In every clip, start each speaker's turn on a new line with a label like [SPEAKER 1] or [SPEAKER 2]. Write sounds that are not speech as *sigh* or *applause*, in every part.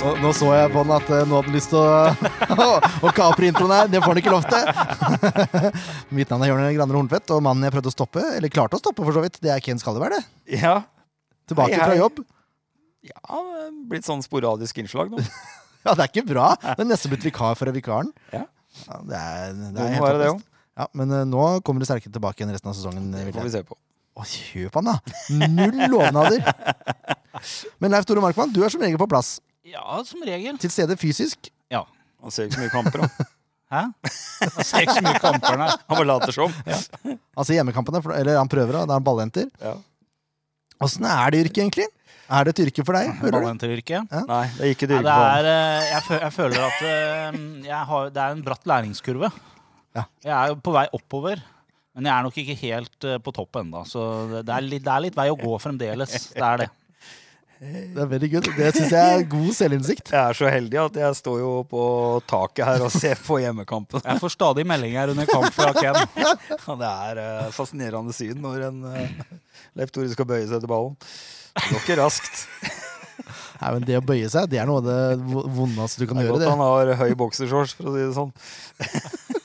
[SPEAKER 1] så, nå så jeg på den at eh, nå hadde han lyst til å, *laughs* å kapre introen her. Det får han ikke lov til. *laughs* Mitt navn er Jørn Graner Horntvedt, og mannen jeg prøvde å stoppe, eller klarte å stoppe for så vidt, det er Ken Skalleberg, det.
[SPEAKER 2] Ja.
[SPEAKER 1] Tilbake
[SPEAKER 2] Hei, hei.
[SPEAKER 1] fra jobb.
[SPEAKER 2] ja, blitt sånn sporadisk innslag nå.
[SPEAKER 1] Ja, det er ikke bra. Det er nesten blitt vikar for vikaren.
[SPEAKER 2] Ja.
[SPEAKER 1] Ja, det er, det
[SPEAKER 2] Må
[SPEAKER 1] er
[SPEAKER 2] det
[SPEAKER 1] helt
[SPEAKER 2] være det
[SPEAKER 1] håpløst. Ja, men eh, nå kommer du sterkere tilbake enn resten av sesongen. eh,
[SPEAKER 2] Det
[SPEAKER 1] vil
[SPEAKER 2] får
[SPEAKER 1] jeg
[SPEAKER 2] vi se på.
[SPEAKER 1] Å, kjøp han, da! Null
[SPEAKER 2] *laughs*
[SPEAKER 1] lovnader. Men Leif Tore Markmann, du er som regel på plass.
[SPEAKER 3] Ja, som regel.
[SPEAKER 1] Til stede fysisk.
[SPEAKER 3] Ja.
[SPEAKER 2] Han ser jo ikke så mye kamper, han.
[SPEAKER 3] Hæ? Jeg *laughs* ser ikke så mye kamper, nei.
[SPEAKER 2] Han bare later som.
[SPEAKER 1] Altså i hjemmekampene, for- eller han prøver, da. Da er han ballhenter.
[SPEAKER 2] Ja.
[SPEAKER 1] Åssen er det yrket, egentlig? Er det et yrke for deg? Føler du?
[SPEAKER 3] Ballenteryrket.
[SPEAKER 2] Nei, det er ikke dyrke
[SPEAKER 3] Nei, det
[SPEAKER 2] for han.
[SPEAKER 3] er, eh, jeg, fø- jeg føler at eh, jeg har, det er en bratt læringskurve.
[SPEAKER 1] Ja.
[SPEAKER 3] Jeg er jo på vei oppover, men jeg er nok ikke helt eh, på topp ennå. Så det det er, litt, det er litt vei å gå fremdeles. Det er det.
[SPEAKER 1] Det er veldig good. Det syns jeg er god selvinnsikt.
[SPEAKER 2] Jeg er så heldig at jeg står jo på taket her og *laughs* ser på hjemmekampen.
[SPEAKER 3] *laughs* Jeg får stadig meldinger under kamp fra Ken.
[SPEAKER 2] Ja, Det er eh, fascinerende syn når en eh, Leif Tore skal bøye seg til ballen. Det går ikke raskt.
[SPEAKER 1] Nei, men det å bøye seg, det er noe av det vo- vondeste du kan
[SPEAKER 2] Det er
[SPEAKER 1] gjøre.
[SPEAKER 2] godt
[SPEAKER 1] det.
[SPEAKER 2] han har høy boksershorts, for å si det sånn.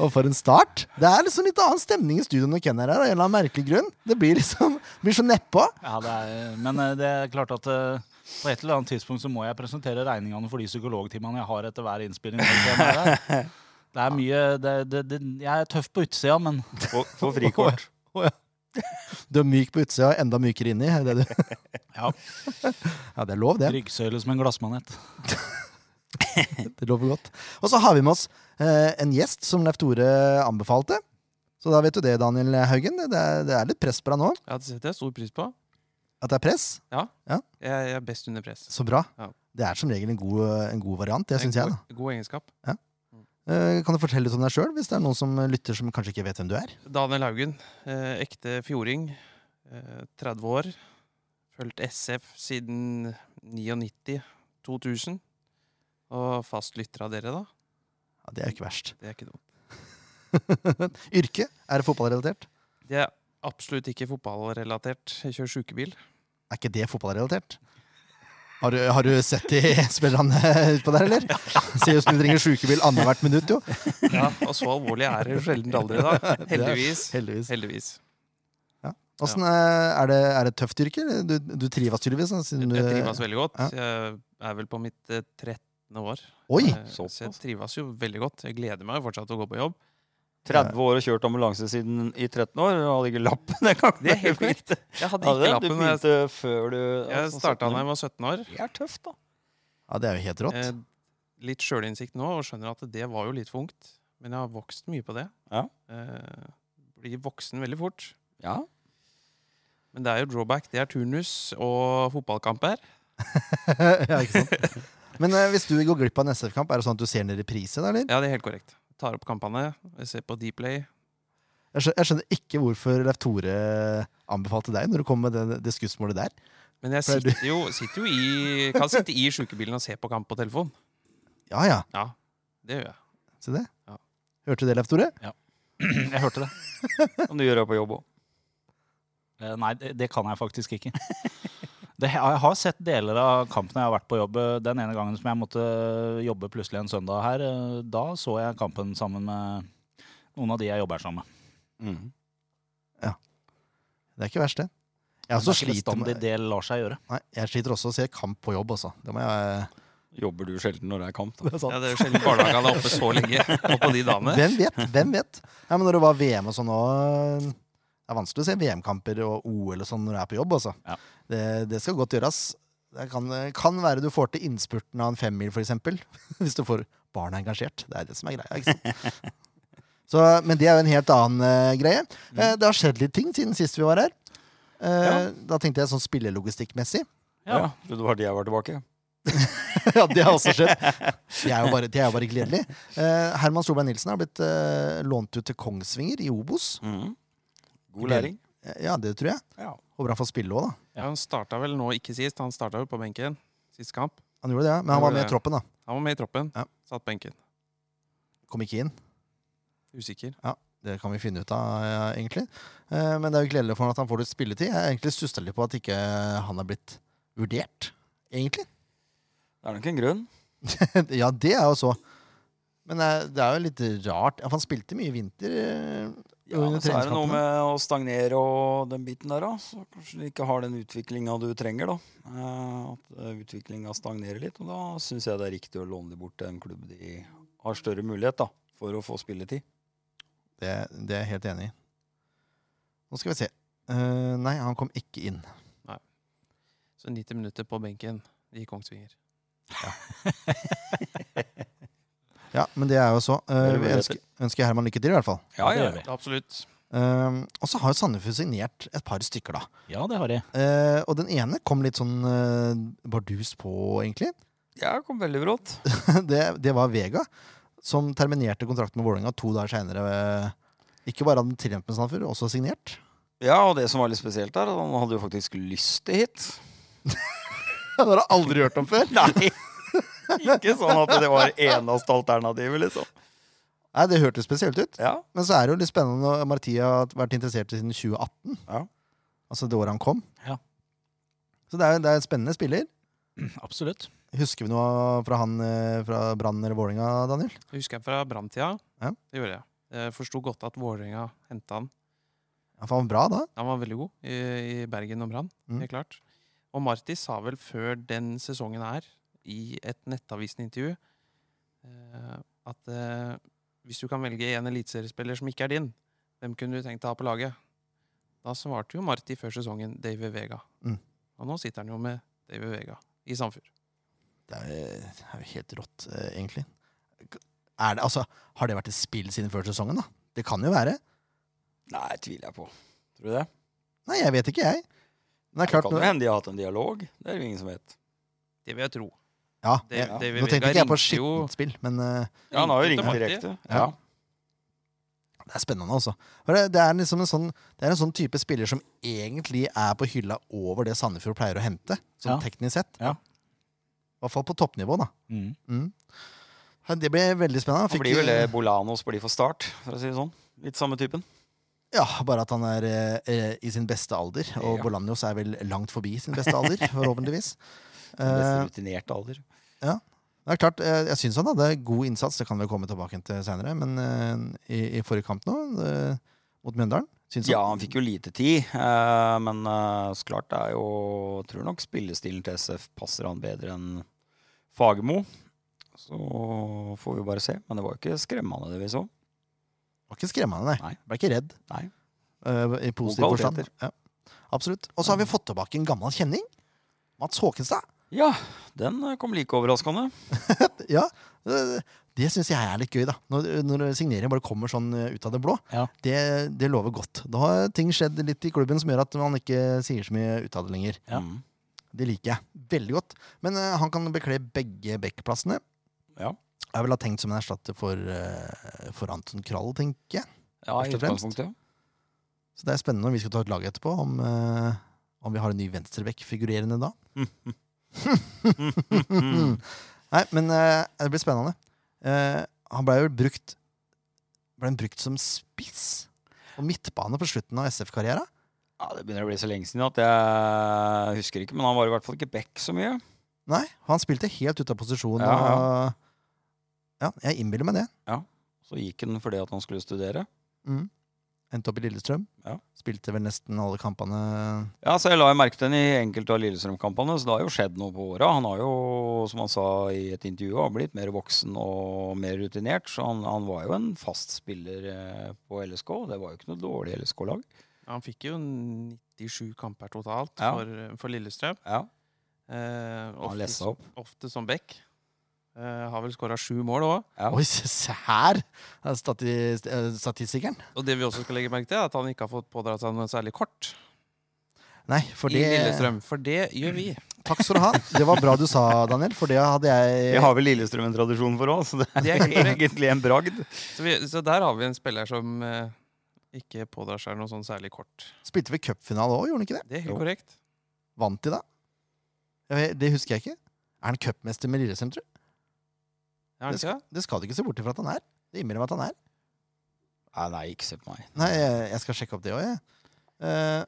[SPEAKER 1] Og for en start. Det er liksom litt annen stemning i studio når Ken er her. Av en eller annen merkelig grunn. Det blir liksom blir så nedpå.
[SPEAKER 3] *laughs* Ja, det er, men eh, det er klart at eh, på et eller annet tidspunkt så må jeg presentere regningene for de psykologtimene jeg har etter hver *laughs* innspilling. Det er mye det, det, det, Jeg er tøff på utsida, men
[SPEAKER 2] Få- Få frikort.
[SPEAKER 1] Du er myk på utsida og enda mykere inni. er Det,
[SPEAKER 2] *laughs*
[SPEAKER 1] du...
[SPEAKER 3] ja,
[SPEAKER 1] ja, det er lov, det.
[SPEAKER 3] ryggsøyle som en glassmanet.
[SPEAKER 1] Det lover godt. Og så har vi med oss eh, en gjest som Leif Tore anbefalte. Så da vet du det, Daniel Haugen. Det er, det er litt press på deg nå.
[SPEAKER 4] Ja, det setter jeg stor pris på.
[SPEAKER 1] At det er press.
[SPEAKER 4] Jeg, jeg er best under press.
[SPEAKER 1] Så bra.
[SPEAKER 4] Ja.
[SPEAKER 1] Det er som regel en god, en god variant, det
[SPEAKER 4] er en
[SPEAKER 1] syns jeg. da.
[SPEAKER 4] god, god egenskap.
[SPEAKER 1] Eh, kan du fortelle litt om deg sjøl, hvis det er noen som lytter som kanskje ikke vet hvem du er?
[SPEAKER 4] Daniel Haugen, eh, ekte fjording. Eh, 30 år. Fulgt SF siden 99-2000. Og fast lytter av dere, da.
[SPEAKER 1] Ja, det er jo ikke verst.
[SPEAKER 4] Det er ikke dumt.
[SPEAKER 1] Yrke? Er det fotballrelatert?
[SPEAKER 4] Det er absolutt ikke fotballrelatert. Jeg kjører sjukebil.
[SPEAKER 1] Er ikke det fotballrelatert? Har du, har du sett de *laughs* spillerne utpå der, eller? Ser ut som de trenger sjukebil annethvert minutt, jo.
[SPEAKER 4] Ja, *laughs* og så alvorlig er det jo sjelden aldri,
[SPEAKER 1] *laughs*
[SPEAKER 4] da. Heldigvis.
[SPEAKER 1] Heldigvis.
[SPEAKER 4] Heldigvis.
[SPEAKER 1] Åssen, eh, er, det, er det et tøft yrke? eller? Du, du trives tydeligvis? da,
[SPEAKER 4] Jeg
[SPEAKER 1] Siden du,
[SPEAKER 4] jeg trives veldig godt.
[SPEAKER 1] Ja.
[SPEAKER 4] Jeg er vel på mitt eh, 13. år.
[SPEAKER 1] Oi!
[SPEAKER 4] Eh, Så jeg trives jo veldig godt. Jeg gleder meg jo fortsatt til å gå på jobb.
[SPEAKER 2] 30 år og kjørt ambulanse siden i 13 år, og hadde ikke lappen. Det kan
[SPEAKER 4] Det er helt korrekt. Jeg hadde ikke
[SPEAKER 2] Du
[SPEAKER 4] lappen. men Jeg, sånn
[SPEAKER 2] begynte før du altså,
[SPEAKER 4] jeg starta da jeg var 17 år.
[SPEAKER 2] Det er tøft, da.
[SPEAKER 1] Ja, det er jo helt rått.
[SPEAKER 4] Eh, litt sjølinnsikt nå, og skjønner at det var jo litt for ungt. Men jeg har vokst mye på det.
[SPEAKER 2] Ja.
[SPEAKER 4] Eh, blir voksen veldig fort.
[SPEAKER 2] Ja.
[SPEAKER 4] Men det er jo drawback. Det er turnus og fotballkamper. Eh.
[SPEAKER 1] *laughs* ja, ikke sant? Men eh, hvis du går glipp av en SF-kamp, er det sånn at du ser den i reprise? da, eller?
[SPEAKER 4] Ja, det er helt korrekt. Tar opp kampene, jeg ser på Dplay.
[SPEAKER 1] Jeg, skjønner, jeg skjønner ikke hvorfor Leif Tore anbefalte deg når du kom med det, det skussmålet der.
[SPEAKER 4] Men jeg
[SPEAKER 1] Pleier du-
[SPEAKER 4] sitter jo, sitter jo i, kan sitte i sjukebilen og se på kamp på telefon.
[SPEAKER 1] Ja, ja,
[SPEAKER 4] Ja, det gjør jeg.
[SPEAKER 1] se det.
[SPEAKER 4] Ja.
[SPEAKER 1] Hørte du det, Leif Tore?
[SPEAKER 3] Jeg hørte det.
[SPEAKER 2] Som du gjør her på jobb òg.
[SPEAKER 3] Eh, Nei, det, det kan jeg faktisk ikke. *laughs* Det, jeg har sett deler av kampen jeg har vært på jobb. Den ene gangen som jeg måtte jobbe plutselig en søndag her, eh, da så jeg kampen sammen med noen av de jeg jobber sammen med.
[SPEAKER 2] Mm.
[SPEAKER 1] Det er ikke verst, det. Jeg,
[SPEAKER 3] det
[SPEAKER 1] også
[SPEAKER 3] er ikke
[SPEAKER 1] sliter,
[SPEAKER 3] bestandig
[SPEAKER 1] med,
[SPEAKER 3] det lar seg gjøre.
[SPEAKER 1] nei, jeg sliter også å se kamp på jobb, altså. Det må jeg
[SPEAKER 2] Jobber du sjelden når det er kamp?
[SPEAKER 1] det
[SPEAKER 2] da?
[SPEAKER 1] er sant.
[SPEAKER 4] Ja, det er jo sjelden barnehagene er oppe så lenge. Og på de dagene.
[SPEAKER 1] Hvem vet? Hvem vet? Ja, men når det var VM og sånn òg Det er vanskelig å se VM-kamper og OL og sånn når du er på jobb, altså.
[SPEAKER 3] Ja.
[SPEAKER 1] Det, det skal godt gjøres. Det kan, kan være du får til innspurten av en femmil, for eksempel. *laughs* Hvis du får barna engasjert. Det er det som er greia, ikke sant. Så, men det er jo en helt annen eh, greie. Eh, det har skjedd litt ting siden sist vi var her. Eh, Da tenkte jeg sånn spillelogistikkmessig. *laughs*
[SPEAKER 3] Ja.
[SPEAKER 2] Trodde det var det jeg var tilbake.
[SPEAKER 1] ja, det har også skjedd. Det er jo bare, det er jo bare gledelig. Eh, Herman Solberg Nilsen har blitt eh, lånt ut til Kongsvinger i Obos.
[SPEAKER 4] Mm.
[SPEAKER 2] God læring.
[SPEAKER 1] Eh, Ja, det tror jeg.
[SPEAKER 2] Ja.
[SPEAKER 1] Håper han får spille òg, da.
[SPEAKER 4] Ja, han starta vel nå ikke sist, han starta jo på benken. Sist kamp.
[SPEAKER 1] Han gjorde det, ja. Men han
[SPEAKER 4] Han
[SPEAKER 1] var
[SPEAKER 4] gjorde
[SPEAKER 1] med i
[SPEAKER 4] det.
[SPEAKER 1] troppen, da.
[SPEAKER 4] Han var med i troppen.
[SPEAKER 1] Ja.
[SPEAKER 4] Satt benken.
[SPEAKER 1] Kom ikke inn.
[SPEAKER 4] Usikker.
[SPEAKER 1] Det kan vi finne ut av, ja, egentlig. Eh, Men det er jo gledelig for han at han får litt spilletid. Jeg har egentlig stussa litt på at ikke han er blitt vurdert egentlig. *laughs*
[SPEAKER 2] Det er nok en grunn.
[SPEAKER 1] ja, det er jo så. Men det er, det er jo litt rart. Ja, for han spilte mye i vinter. eh,
[SPEAKER 2] Ja,
[SPEAKER 1] under
[SPEAKER 2] men så er det noe
[SPEAKER 1] treningskampene.
[SPEAKER 2] med å stagnere og den biten der, da. Så kanskje du ikke har den utviklinga du trenger, da. Eh, At utviklinga stagnerer litt. Og da syns jeg det er riktig å låne de bort til en klubb de har større mulighet, da. For å få spilletid.
[SPEAKER 1] Det, det er jeg helt enig i. Nå skal vi se. Eh, nei, han kom ikke inn.
[SPEAKER 4] Så 90 minutter på benken i Kongsvinger.
[SPEAKER 1] Ja, Men det er jo så. Eh,
[SPEAKER 2] Eller
[SPEAKER 1] vi ønsker, ønsker Herman lykke til, i hvert fall.
[SPEAKER 2] Ja,
[SPEAKER 3] det
[SPEAKER 2] ja.
[SPEAKER 3] gjør vi.
[SPEAKER 4] Absolutt.
[SPEAKER 1] Eh, og så har jo Sandefjord signert et par stykker, da.
[SPEAKER 3] Ja, det har de.
[SPEAKER 1] Eh, og den ene kom litt sånn eh, bardus på, egentlig. *laughs*
[SPEAKER 2] Jeg kom veldig brått.
[SPEAKER 1] det, det var Vega, som terminerte kontrakten med Vålerenga to dager seinere. Ikke bare hadde han tilkjent med Sandefjord, også signert. *laughs*
[SPEAKER 2] Ja, og det som var litt spesielt der, at han hadde jo faktisk lyst til hit. *laughs*
[SPEAKER 1] Det har jeg aldri hørt om før!
[SPEAKER 2] Nei! ikke sånn at det var eneste alternativet, liksom.
[SPEAKER 1] Nei, Det hørtes spesielt ut.
[SPEAKER 2] Ja.
[SPEAKER 1] Men så er det jo litt spennende når Martia har vært interessert i siden 2018.
[SPEAKER 2] Ja.
[SPEAKER 1] Altså det året han kom.
[SPEAKER 3] Ja.
[SPEAKER 1] Så det er, det er en spennende spiller.
[SPEAKER 3] Absolutt.
[SPEAKER 1] Husker vi noe fra han eh, fra Brann eller Vålinga, Daniel?
[SPEAKER 4] Jeg husker jeg fra branntida.
[SPEAKER 1] Ja.
[SPEAKER 4] Det gjorde jeg. Jeg forsto godt at Vålerenga henta han.
[SPEAKER 1] Ja, for han var bra da.
[SPEAKER 4] Han var veldig god i, i Bergen og Brann,
[SPEAKER 1] Mm.
[SPEAKER 4] helt klart. Og Marti sa vel før den sesongen her, i et Nettavisen-intervju, eh, at eh, hvis du kan velge en eliteseriespiller som ikke er din, hvem kunne du tenkt deg å ha på laget? Da svarte jo Marti før sesongen David Vega.
[SPEAKER 1] Mm.
[SPEAKER 4] Og nå sitter han jo med David Vega i Sandfjord.
[SPEAKER 1] Det er, det er jo helt rått, eh, egentlig. Er det, altså, har det vært et spill siden før sesongen, da? Det kan jo være.
[SPEAKER 2] Nei, tviler jeg på. Tror du det?
[SPEAKER 1] Nei, jeg vet ikke, jeg. Men det er
[SPEAKER 2] Det
[SPEAKER 1] klart
[SPEAKER 2] kan jo
[SPEAKER 1] nå-
[SPEAKER 2] hende de har hatt en dialog. Det er det jo ingen som vet.
[SPEAKER 4] Det vil jeg tro.
[SPEAKER 1] ja,
[SPEAKER 4] Det-
[SPEAKER 1] jeg-
[SPEAKER 4] det-
[SPEAKER 1] Nå tenkte
[SPEAKER 4] Vegard
[SPEAKER 1] ikke jeg på
[SPEAKER 4] ringte jo-
[SPEAKER 1] skittent spill, men eh,
[SPEAKER 2] Ja, han har jo
[SPEAKER 4] Ringte
[SPEAKER 2] ringt
[SPEAKER 4] til Marti.
[SPEAKER 2] direkte.
[SPEAKER 1] Ja.
[SPEAKER 2] Ja.
[SPEAKER 1] det er spennende, altså. For det, det, er liksom en sånn, det er en sånn type spiller som egentlig er på hylla over det Sandefjord pleier å hente, sånn
[SPEAKER 3] Ja.
[SPEAKER 1] teknisk sett.
[SPEAKER 3] Ja.
[SPEAKER 1] I hvert fall på toppnivå, da.
[SPEAKER 3] Mm.
[SPEAKER 1] Mm. Ja, Det ble veldig spennende. Han
[SPEAKER 2] Han
[SPEAKER 1] fikk,
[SPEAKER 2] blir vel det Bolanos blir for start, for å si det sånn. Litt samme typen.
[SPEAKER 1] Ja, bare at han er eh, eh, i sin beste alder. Og
[SPEAKER 2] Ja.
[SPEAKER 1] Bolanjos er vel langt forbi sin beste
[SPEAKER 2] *laughs*
[SPEAKER 1] alder, forhåpentligvis. Eh,
[SPEAKER 2] Mest rutinerte alder.
[SPEAKER 1] Det er klart, eh, Jeg syns han hadde god innsats, det kan vi komme tilbake til seinere. Men eh, i, i forrige kamp nå, eh, mot Mjøndalen synes
[SPEAKER 2] Ja,
[SPEAKER 1] han-
[SPEAKER 2] han fikk jo lite tid, eh, men eh, så klart det er jo Tror nok spillestilen til SF passer han bedre enn Fagermo. Så får vi bare se. Men det var jo ikke skremmende, det vi så.
[SPEAKER 1] var ikke skremmende, nei.
[SPEAKER 2] Nei.
[SPEAKER 1] Ble ikke redd.
[SPEAKER 2] Nei.
[SPEAKER 1] eh, I positiv
[SPEAKER 2] God
[SPEAKER 1] forstand.
[SPEAKER 2] kvaliteter.
[SPEAKER 1] Ja. Absolutt. Og så har vi fått tilbake en gammel kjenning. Mats Håkenstad.
[SPEAKER 2] Ja, den eh, kom like overraskende.
[SPEAKER 1] ja, eh, Det syns jeg er litt gøy, da. Når, når signeringen bare kommer sånn eh, ut av det blå.
[SPEAKER 3] Ja.
[SPEAKER 1] Det, det lover godt. Da har ting skjedd litt i klubben som gjør at man ikke sier så mye ut av det lenger.
[SPEAKER 3] Ja.
[SPEAKER 2] Mm.
[SPEAKER 1] Det liker jeg veldig godt. Men eh, han kan bekle begge backplassene.
[SPEAKER 2] Ja.
[SPEAKER 1] Jeg vil ha tenkt som en erstatter for, eh, for Anton Krall, tenker jeg.
[SPEAKER 2] ja i
[SPEAKER 1] Først og fremst.
[SPEAKER 2] utgangspunktet.
[SPEAKER 1] Så det er spennende når vi skal ta ut laget etterpå, om, eh, om vi har en ny venstrebekk figurerende da. *laughs* Nei, men eh, det blir spennende. Eh, han blei jo brukt Ble han brukt som spiss og midtbane på slutten av SF-karriera?
[SPEAKER 2] Ja, Det begynner å bli så lenge siden at jeg husker ikke, men han var i hvert fall ikke back så mye.
[SPEAKER 1] Nei, han spilte helt ute av posisjon.
[SPEAKER 2] Ja, ja.
[SPEAKER 1] Og, ja jeg innbiller meg det.
[SPEAKER 2] Så gikk han fordi at han skulle studere.
[SPEAKER 1] Mm. Endte opp i Lillestrøm.
[SPEAKER 2] Ja.
[SPEAKER 1] Spilte vel nesten alle kampene.
[SPEAKER 2] Ja, så Jeg la jo merke til den i enkelte av Lillestrøm-kampene, så det har jo skjedd noe på åra. Han har jo, som han sa i et intervju, har blitt mer voksen og mer rutinert. Så han, han var jo en fast spiller eh, på LSK, og det var jo ikke noe dårlig LSK-lag.
[SPEAKER 4] Han fikk jo 97 kamper totalt
[SPEAKER 2] Ja.
[SPEAKER 4] for, for Lillestrøm.
[SPEAKER 2] Ja,
[SPEAKER 4] Eh,
[SPEAKER 2] Han
[SPEAKER 4] ofte,
[SPEAKER 2] lessa opp.
[SPEAKER 4] ofte som back. Eh, har vel skåra sju mål òg.
[SPEAKER 2] Ja.
[SPEAKER 1] Oi, se se her! er stati- eh, Statistikeren.
[SPEAKER 4] Og det vi også skal legge merke til, er at han ikke har fått pådratt seg noe særlig kort
[SPEAKER 1] Nei, for
[SPEAKER 4] i
[SPEAKER 1] det
[SPEAKER 4] Lillestrøm. For det gjør vi.
[SPEAKER 1] Takk skal du ha. Det var bra du sa, Daniel, for det hadde jeg
[SPEAKER 2] Vi har vel Lillestrøm en tradisjon for òg, så det
[SPEAKER 4] Det er
[SPEAKER 2] er *laughs*
[SPEAKER 4] korrekt.
[SPEAKER 2] egentlig en bragd.
[SPEAKER 4] Så, vi, så der har vi en spiller som eh, ikke pådrar seg noe sånn særlig kort.
[SPEAKER 1] Spilte ved cupfinale òg, gjorde han ikke det?
[SPEAKER 4] Det er
[SPEAKER 2] Jo.
[SPEAKER 4] helt korrekt.
[SPEAKER 1] Vant de da? Jeg- Det husker jeg ikke. Er han cupmester med Lillestrøm, tror du?
[SPEAKER 4] Er han
[SPEAKER 1] Det
[SPEAKER 4] ikke
[SPEAKER 1] skal,
[SPEAKER 4] det?
[SPEAKER 1] det skal du ikke se bort ifra at han er. Det innbiller meg at han er.
[SPEAKER 2] Nei, nei, ikke se på meg.
[SPEAKER 1] Nei, jeg, jeg skal sjekke opp det òg, jeg. Eh,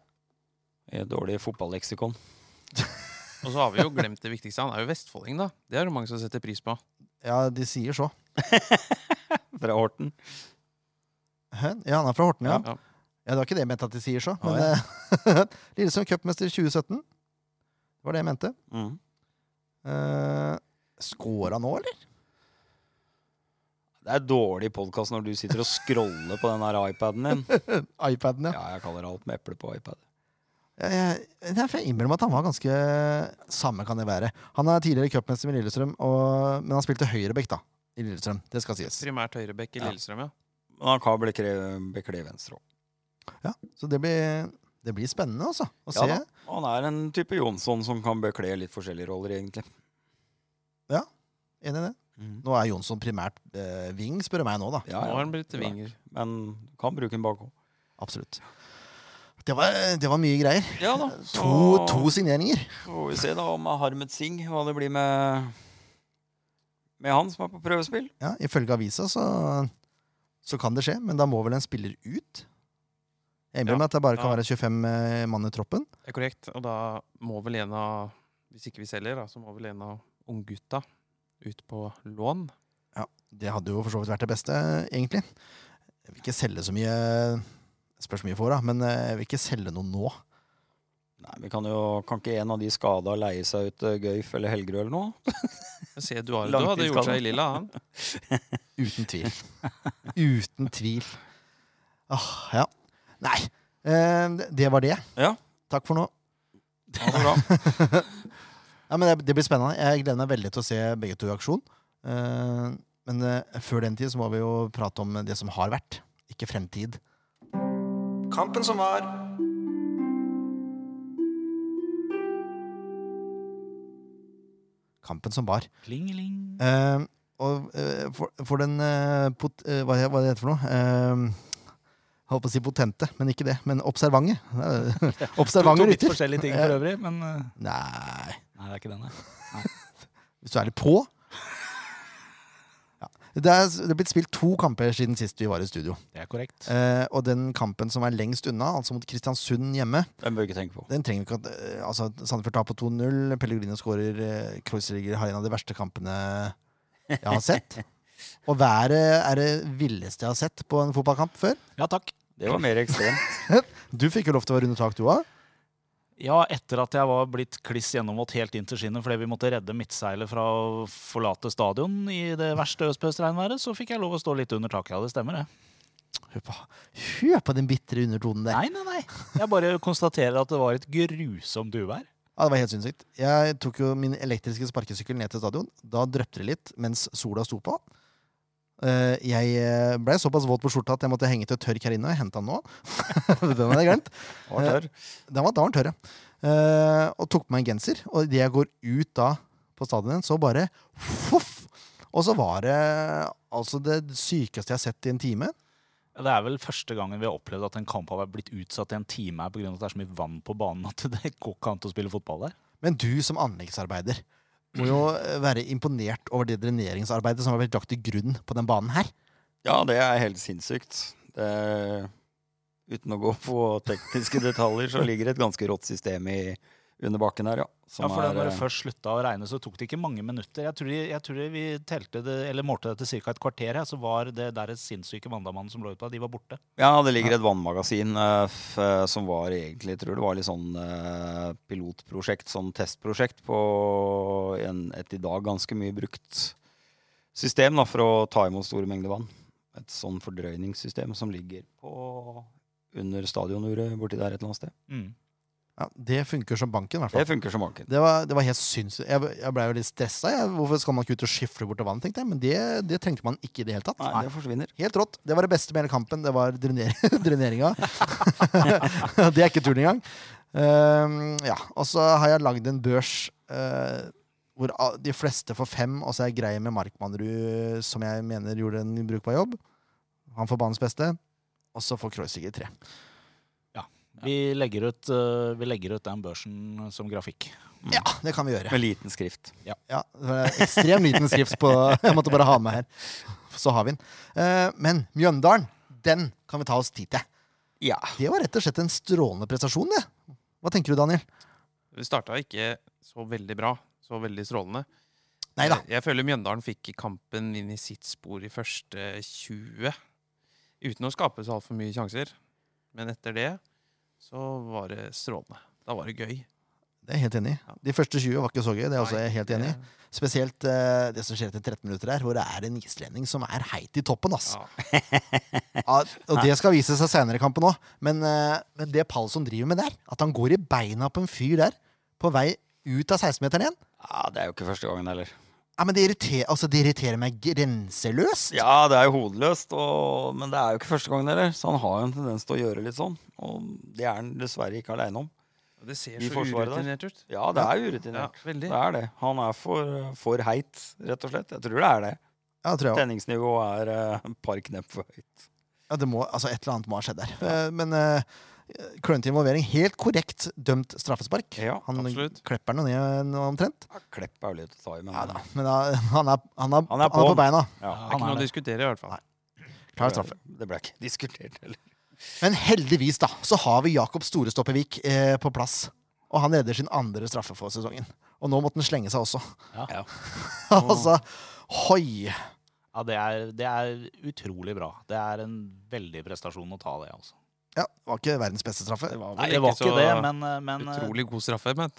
[SPEAKER 2] Jeg er Dårlig fotballeksikon.
[SPEAKER 4] Og så har vi jo glemt det viktigste. Han er jo vestfolding, da. Det er det mange som setter pris på.
[SPEAKER 1] Ja, de sier så.
[SPEAKER 2] Fra Horten.
[SPEAKER 1] Hæ? Ja, han er fra Horten, ja.
[SPEAKER 4] Ja.
[SPEAKER 1] Ja, Det var ikke det jeg mente at de sier så.
[SPEAKER 2] Å,
[SPEAKER 1] Men eh, *laughs* Lillesund cupmester 2017. Det var det jeg mente.
[SPEAKER 2] Mm.
[SPEAKER 1] Uh, Skåra nå, eller?
[SPEAKER 2] Det er dårlig podkast når du sitter og scroller på den her iPaden din.
[SPEAKER 1] *laughs* iPaden, ja.
[SPEAKER 2] Ja, jeg kaller alt med eple på iPad.
[SPEAKER 1] Jeg, jeg, nei, for jeg innbiller meg at han var ganske Samme kan det være. Han er tidligere cupmester med Lillestrøm, og, men han spilte høyrebekk, da. I Lillestrøm. Det skal sies.
[SPEAKER 4] Primært Høyrebekk i
[SPEAKER 2] Ja.
[SPEAKER 4] Lillestrøm, ja.
[SPEAKER 2] Men han kan bekle, bekle venstre òg.
[SPEAKER 1] Ja, så det blir, det blir spennende, altså. Å
[SPEAKER 2] Ja,
[SPEAKER 1] se.
[SPEAKER 2] da. han er en type Jonsson som kan bekle litt forskjellige roller, egentlig.
[SPEAKER 1] Enig i det.
[SPEAKER 2] Mhm.
[SPEAKER 1] Nå er Jonsson primært eh, wing, spør du meg nå, da.
[SPEAKER 2] Ja,
[SPEAKER 4] Nå har
[SPEAKER 2] ja.
[SPEAKER 4] han blitt vinger.
[SPEAKER 2] Men kan bruke den bak òg.
[SPEAKER 1] Absolutt. Det var, det var mye greier.
[SPEAKER 2] Ja da. Så
[SPEAKER 1] To, to signeringer.
[SPEAKER 2] får vi se da om Harmet Singh hva det blir med med han som er på prøvespill.
[SPEAKER 1] Ja, Ifølge avisa så, så kan det skje, men da må vel en spiller ut? Jeg innbiller
[SPEAKER 4] Ja,
[SPEAKER 1] meg at det bare kan
[SPEAKER 4] ja.
[SPEAKER 1] være 25 eh, mann i troppen.
[SPEAKER 4] Det er korrekt. Og da må vel en av Hvis ikke vi selger, da, så må vel en av unggutta ut på lån.
[SPEAKER 1] Det hadde jo for så vidt vært det beste, egentlig. Jeg vil ikke selge så mye Spørs hvor mye jeg får, da, men eh, jeg vil ikke selge noe nå.
[SPEAKER 2] Nei, vi kan jo Kan ikke en av de skada leie seg ut eh, Gøyf eller Helgerud eller noe?
[SPEAKER 4] Jeg ser Duardo hadde gjort seg i lilla, han.
[SPEAKER 1] Uten tvil. Uten tvil. Åh, ja. Nei. Eh, det- det var det.
[SPEAKER 2] Ja.
[SPEAKER 1] Takk for nå.
[SPEAKER 2] Ja, det er bra.
[SPEAKER 1] Ja, men det, det blir spennende. Jeg gleder meg veldig til å se begge to i aksjon. Eh, men eh, før den tid så må vi jo prate om det som har vært, ikke fremtid.
[SPEAKER 5] Kampen som var.
[SPEAKER 1] Kampen som var.
[SPEAKER 3] Klingeling.
[SPEAKER 1] Eh, og eh, for, for den eh, pot, eh, hva, hva det heter for noe? Eh, jeg holdt på å si potente, men ikke det. Men observante. *laughs* Eh,
[SPEAKER 3] To, to
[SPEAKER 1] Observante
[SPEAKER 3] litt
[SPEAKER 1] rytter.
[SPEAKER 3] forskjellige ting
[SPEAKER 2] *laughs*
[SPEAKER 3] for øvrig, men eh,
[SPEAKER 1] Nei
[SPEAKER 3] Nei, det er ikke den, nei.
[SPEAKER 1] Hvis du er litt på. Ja. Det, er, det er blitt spilt to kamper siden sist vi var i studio.
[SPEAKER 3] Det er korrekt.
[SPEAKER 1] Eh, og den kampen som er lengst unna, altså mot Kristiansund hjemme,
[SPEAKER 2] *laughs* Den bør vi ikke tenke på.
[SPEAKER 1] Den trenger vi ikke at eh, altså, Sandefjord tar på 2-0. Pellegrino skårer. eh, Kreuzriger har en av de verste kampene jeg har sett. Og været er det villeste jeg har sett på en fotballkamp før.
[SPEAKER 3] Ja takk.
[SPEAKER 2] Det var mer ekstremt.
[SPEAKER 1] Du fikk jo lov til å være under tak, du òg.
[SPEAKER 3] Ja, etter at jeg var blitt kliss gjennomvåt helt inn til skinnet fordi vi måtte redde midtseilet fra å forlate stadion i det verste øspøsregnværet, så fikk jeg lov å stå litt under taket. Ja, det stemmer, det.
[SPEAKER 1] Hør, på- hør på den bitre undertonen der.
[SPEAKER 3] Nei, nei, nei. Jeg bare konstaterer at det var et grusomt uvær.
[SPEAKER 1] Ja, det var helt sinnssykt. Jeg tok jo min elektriske sparkesykkel ned til stadion. Da drøpte det litt mens sola sto på. Eh, Jeg eh, ble såpass våt på skjorta at jeg måtte henge til tørk her inne. Jeg henta den nå. *laughs* den hadde jeg glemt. Eh,
[SPEAKER 2] Var tørr.
[SPEAKER 1] Den var, da var den tørr, ja. Eh, og tok på meg en genser. Og idet jeg går ut da på stadionet, så bare voff! Og så var det altså det sykeste jeg har sett i en time.
[SPEAKER 3] Det er vel første gangen vi har opplevd at en kamp har blitt utsatt i en time her pga. at det er så mye vann på banen at det *laughs* går ikke an til å spille fotball der.
[SPEAKER 1] Men du som anleggsarbeider må jo eh, være imponert over det dreneringsarbeidet som har blitt lagt til grunn på den banen her.
[SPEAKER 2] Ja, det er helt sinnssykt. Det, uten å gå på tekniske detaljer, så ligger et ganske rått system i, under bakken her, ja. Som
[SPEAKER 3] Ja, for da
[SPEAKER 2] er,
[SPEAKER 3] når
[SPEAKER 2] eh,
[SPEAKER 3] det først slutta å regne, så tok det ikke mange minutter. Jeg tror, jeg tror vi telte det, eller målte det til ca. et kvarter her, så var det der sinnssyke Mandamannen som lå ute, de var borte.
[SPEAKER 2] Ja, det ligger et vannmagasin eh, f, eh, som var egentlig, jeg tror det var litt sånn eh, pilotprosjekt, sånn testprosjekt på en, et i dag ganske mye brukt system da, for å ta imot store mengder vann. Et sånn fordrøyningssystem som ligger på under stadionuret borti der et eller annet sted.
[SPEAKER 3] Mm.
[SPEAKER 1] Ja, det funker som banken, i hvert
[SPEAKER 2] Det
[SPEAKER 1] fall.
[SPEAKER 2] funker som banken.
[SPEAKER 1] Det var, det var helt sinnssykt. Jeg, jeg blei jo litt stressa. Jeg. Hvorfor skal man ikke ut og skifle bort vann, tenkte jeg. Men det, det trengte man ikke i det hele tatt.
[SPEAKER 2] Nei, det forsvinner.
[SPEAKER 1] Helt rått. Det var det beste med hele kampen. Det var *laughs* drener dreneringa. det er ikke turen engang. Ehm, ja. Og så har jeg lagd en børs eh, hvor a- de fleste får fem, og så er jeg grei med Markmannrud, som jeg mener gjorde en brukbar jobb. Han får banens beste. Og så får Kreuziger tre.
[SPEAKER 3] Vi, legger ut, eh, vi legger ut den børsen som grafikk.
[SPEAKER 2] Mm.
[SPEAKER 1] Ja, det kan vi gjøre.
[SPEAKER 2] Med liten skrift.
[SPEAKER 1] Ja, det var Ekstrem liten skrift på *laughs* Jeg måtte bare ha den med her. Så har vi den. Eh, men Mjøndalen, den kan vi ta oss tid til.
[SPEAKER 2] Ja.
[SPEAKER 1] Det var rett og slett en strålende prestasjon, det. Hva tenker du, Daniel?
[SPEAKER 4] Det starta ikke så veldig bra. Så veldig strålende.
[SPEAKER 1] Nei da.
[SPEAKER 4] Jeg- Jeg føler Mjøndalen fikk kampen inn i sitt spor i første 20. Uten å skape så altfor mye sjanser. Men etter det så var det strålende. Da var det gøy.
[SPEAKER 1] Det er jeg helt enig i.
[SPEAKER 4] Ja.
[SPEAKER 1] De første 20 var ikke så gøy. Det er også
[SPEAKER 4] Nei,
[SPEAKER 1] jeg helt
[SPEAKER 4] det-
[SPEAKER 1] enig i. Spesielt eh, det som skjer etter 13 minutter her, hvor det er en islending som er heit i toppen. ass.
[SPEAKER 4] Ja.
[SPEAKER 1] Ja, og det skal vise seg senere i kampen òg. Men, eh, men det Palsson driver med der, at han går i beina på en fyr der, på vei ut av 16-meteren igjen
[SPEAKER 2] Ja, Det er jo ikke første gangen heller.
[SPEAKER 1] ja, men det, irriterer, altså, det irriterer meg grenseløst.
[SPEAKER 2] Ja, det er jo hodeløst, og, men det er jo ikke første gangen heller. Så han har jo en tendens til å gjøre litt sånn. Og det er han dessverre ikke aleine om.
[SPEAKER 4] Og det ser
[SPEAKER 2] I
[SPEAKER 4] så
[SPEAKER 2] forsvaret der.
[SPEAKER 4] urutinert ut.
[SPEAKER 2] Ja, det er
[SPEAKER 4] Ja,
[SPEAKER 2] urutinert. Det
[SPEAKER 4] veldig.
[SPEAKER 2] er det. Han er for, for heit, rett og slett. Jeg tror det er det.
[SPEAKER 1] Ja, tror jeg også.
[SPEAKER 2] Tenningsnivået er eh, et par knepp for høyt.
[SPEAKER 1] Ja, det må, altså, et eller annet må ha skjedd der. Eh, Men uh, klønete involvering. Helt korrekt dømt straffespark.
[SPEAKER 2] Ja,
[SPEAKER 1] han
[SPEAKER 4] absolutt.
[SPEAKER 1] klepper den jo ned nå omtrent.
[SPEAKER 2] Ja, Klepp er jo litt å ta i, men
[SPEAKER 1] Ja, da. Men da, han, er, han, er, han, er på. beina.
[SPEAKER 2] Ja,
[SPEAKER 4] Det er ikke noe å diskutere, i hvert fall.
[SPEAKER 1] Nei. Klar straffe.
[SPEAKER 2] Det ble ikke diskutert heller.
[SPEAKER 1] Men heldigvis da, så har vi Jakob Storestoppervik eh, på plass. Og han redder sin andre straffe for sesongen. Og nå måtte han slenge seg også.
[SPEAKER 3] Ja.
[SPEAKER 1] *laughs*
[SPEAKER 2] Ja.
[SPEAKER 1] altså, hoi!
[SPEAKER 3] Ja, det er, det er utrolig bra. Det er en veldig prestasjon å ta det, altså.
[SPEAKER 1] Ja, det var ikke verdens beste straffe.
[SPEAKER 4] Det var vel
[SPEAKER 3] Nei, det var
[SPEAKER 4] så
[SPEAKER 3] ikke det, men, eh, men,
[SPEAKER 2] eh,
[SPEAKER 4] utrolig god straffe, men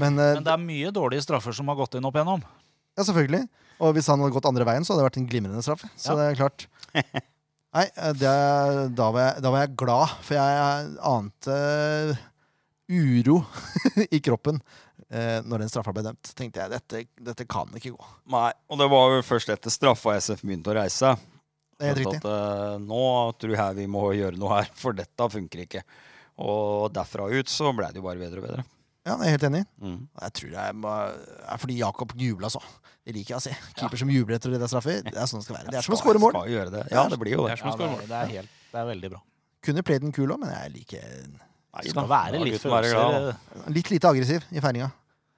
[SPEAKER 1] Men, eh,
[SPEAKER 3] men det er mye dårlige straffer som har gått inn opp igjennom.
[SPEAKER 1] ja, selvfølgelig. Og hvis han hadde gått andre veien, så hadde det vært en glimrende straffe. Så
[SPEAKER 3] Ja.
[SPEAKER 1] det er klart. Nei, eh, det, da, var jeg, da var jeg glad, for jeg ante eh, uro *laughs* i kroppen eh, når den straffa ble dømt. Tenkte jeg, dette, dette kan ikke gå.
[SPEAKER 2] Nei, og det var jo først etter straffa SF begynte å reise.
[SPEAKER 1] Det er helt riktig.
[SPEAKER 2] At, eh, nå tror jeg vi må gjøre noe her, for dette funker ikke. Og derfra ut så ble det jo bare bedre og bedre.
[SPEAKER 1] Ja, jeg er helt enig.
[SPEAKER 2] Mm.
[SPEAKER 1] Jeg tror det er, bare- er fordi Jakob jubla så. Det liker jeg å se. Keeper som jubler etter det der straffer. Det er sånn det skal være. Det er som å
[SPEAKER 2] Skal-
[SPEAKER 1] skåre mål.
[SPEAKER 2] Skal gjøre det. Ja, det blir jo det.
[SPEAKER 4] det er som
[SPEAKER 3] Ja,
[SPEAKER 4] å
[SPEAKER 3] det,
[SPEAKER 4] skåre
[SPEAKER 3] er, det, er helt, det er veldig bra.
[SPEAKER 1] Kunne played den kul òg, men jeg liker
[SPEAKER 2] Nei,
[SPEAKER 3] Det
[SPEAKER 2] da,
[SPEAKER 3] skal være
[SPEAKER 2] da
[SPEAKER 3] litt
[SPEAKER 2] gutten være glad, da.
[SPEAKER 3] følelser. eh,
[SPEAKER 1] litt lite aggressiv i feiringa.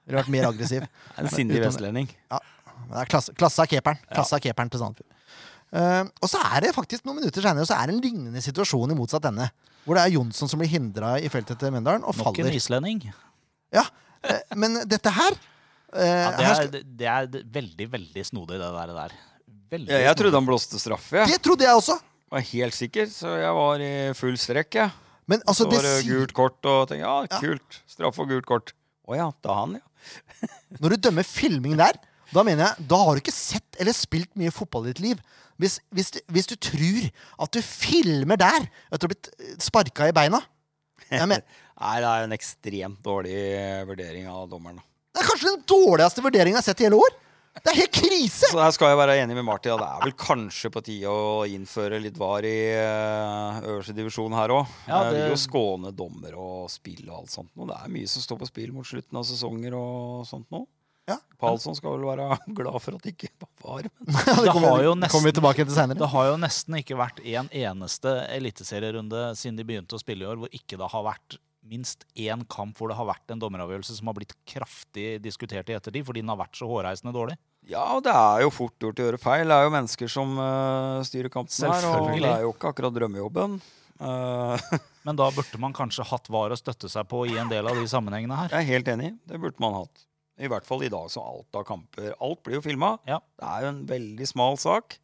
[SPEAKER 1] Ville vært mer aggressiv.
[SPEAKER 2] En sindig
[SPEAKER 1] utom-
[SPEAKER 2] vestlending.
[SPEAKER 1] Men det er klasse, klasse av keeperen. Klasse av keeperen til Sandefjord. Eh, og så er det faktisk noen minutter senere så er det en lignende situasjon i motsatt ende. Hvor det er Jonsson som blir hindra i feltet til Mjøndalen og
[SPEAKER 3] Nok en
[SPEAKER 1] faller.
[SPEAKER 3] islending.
[SPEAKER 1] Ja, eh, men dette her eh,
[SPEAKER 3] Ja, det,
[SPEAKER 1] her
[SPEAKER 3] er,
[SPEAKER 1] skal,
[SPEAKER 3] det er veldig, veldig snodig, det der. der. Veldig
[SPEAKER 2] Ja, jeg trodde
[SPEAKER 3] snodig.
[SPEAKER 2] han blåste straffe. Jeg
[SPEAKER 1] det trodde jeg også!
[SPEAKER 2] var helt sikker, så jeg var i full strekk. jeg.
[SPEAKER 1] Men altså,
[SPEAKER 2] Så
[SPEAKER 1] det
[SPEAKER 2] var det
[SPEAKER 1] sier
[SPEAKER 2] gult kort, og tenkte ja, kult. Straffe og gult kort. Å ja, da han, ja.
[SPEAKER 1] Når du dømmer filming der, da mener jeg, da har du ikke sett eller spilt mye fotball i ditt liv. Hvis, hvis, du- hvis du tror at du filmer der etter å ha blitt sparka i beina jeg mener,
[SPEAKER 2] Nei, det er en ekstremt dårlig eh, vurdering av dommeren. da.
[SPEAKER 1] Det er kanskje den dårligste vurderingen jeg har sett i hele år! Det er helt krise!
[SPEAKER 2] Så her skal jeg være enig med Martin. at Det er vel kanskje på tide å innføre litt var i eh, øverste divisjon her òg.
[SPEAKER 3] Ja,
[SPEAKER 2] det...
[SPEAKER 3] det-
[SPEAKER 2] Vil jo skåne dommer og spill og alt sånt. nå. det er mye som står på spill mot slutten av sesonger og sånt nå.
[SPEAKER 1] Ja.
[SPEAKER 2] Palsson skal vel være *laughs* glad for at det ikke var var. Men...
[SPEAKER 1] Ja,
[SPEAKER 3] Det
[SPEAKER 1] kommer
[SPEAKER 3] har
[SPEAKER 1] vi-
[SPEAKER 3] jo
[SPEAKER 1] kommer vi
[SPEAKER 3] nesten-
[SPEAKER 1] tilbake til senere.
[SPEAKER 3] Det har jo nesten ikke vært en eneste eliteserierunde siden de begynte å spille i år, hvor ikke det har vært minst én kamp hvor det har vært en dommeravgjørelse som har blitt kraftig diskutert i ettertid fordi den har vært så hårreisende dårlig.
[SPEAKER 2] Ja, og det er jo fort gjort å gjøre feil. Det er jo mennesker som eh, styrer kampen her. Og
[SPEAKER 3] Selvfølgelig.
[SPEAKER 2] det er jo ikke akkurat drømmejobben. Eh,
[SPEAKER 3] Men da burde man kanskje hatt var å støtte seg på i en del av de sammenhengene her.
[SPEAKER 2] Jeg er helt enig. Det burde man hatt. I hvert fall i dag, så alt av kamper. Alt blir jo filma.
[SPEAKER 3] Ja.
[SPEAKER 2] Det er jo en veldig smal sak.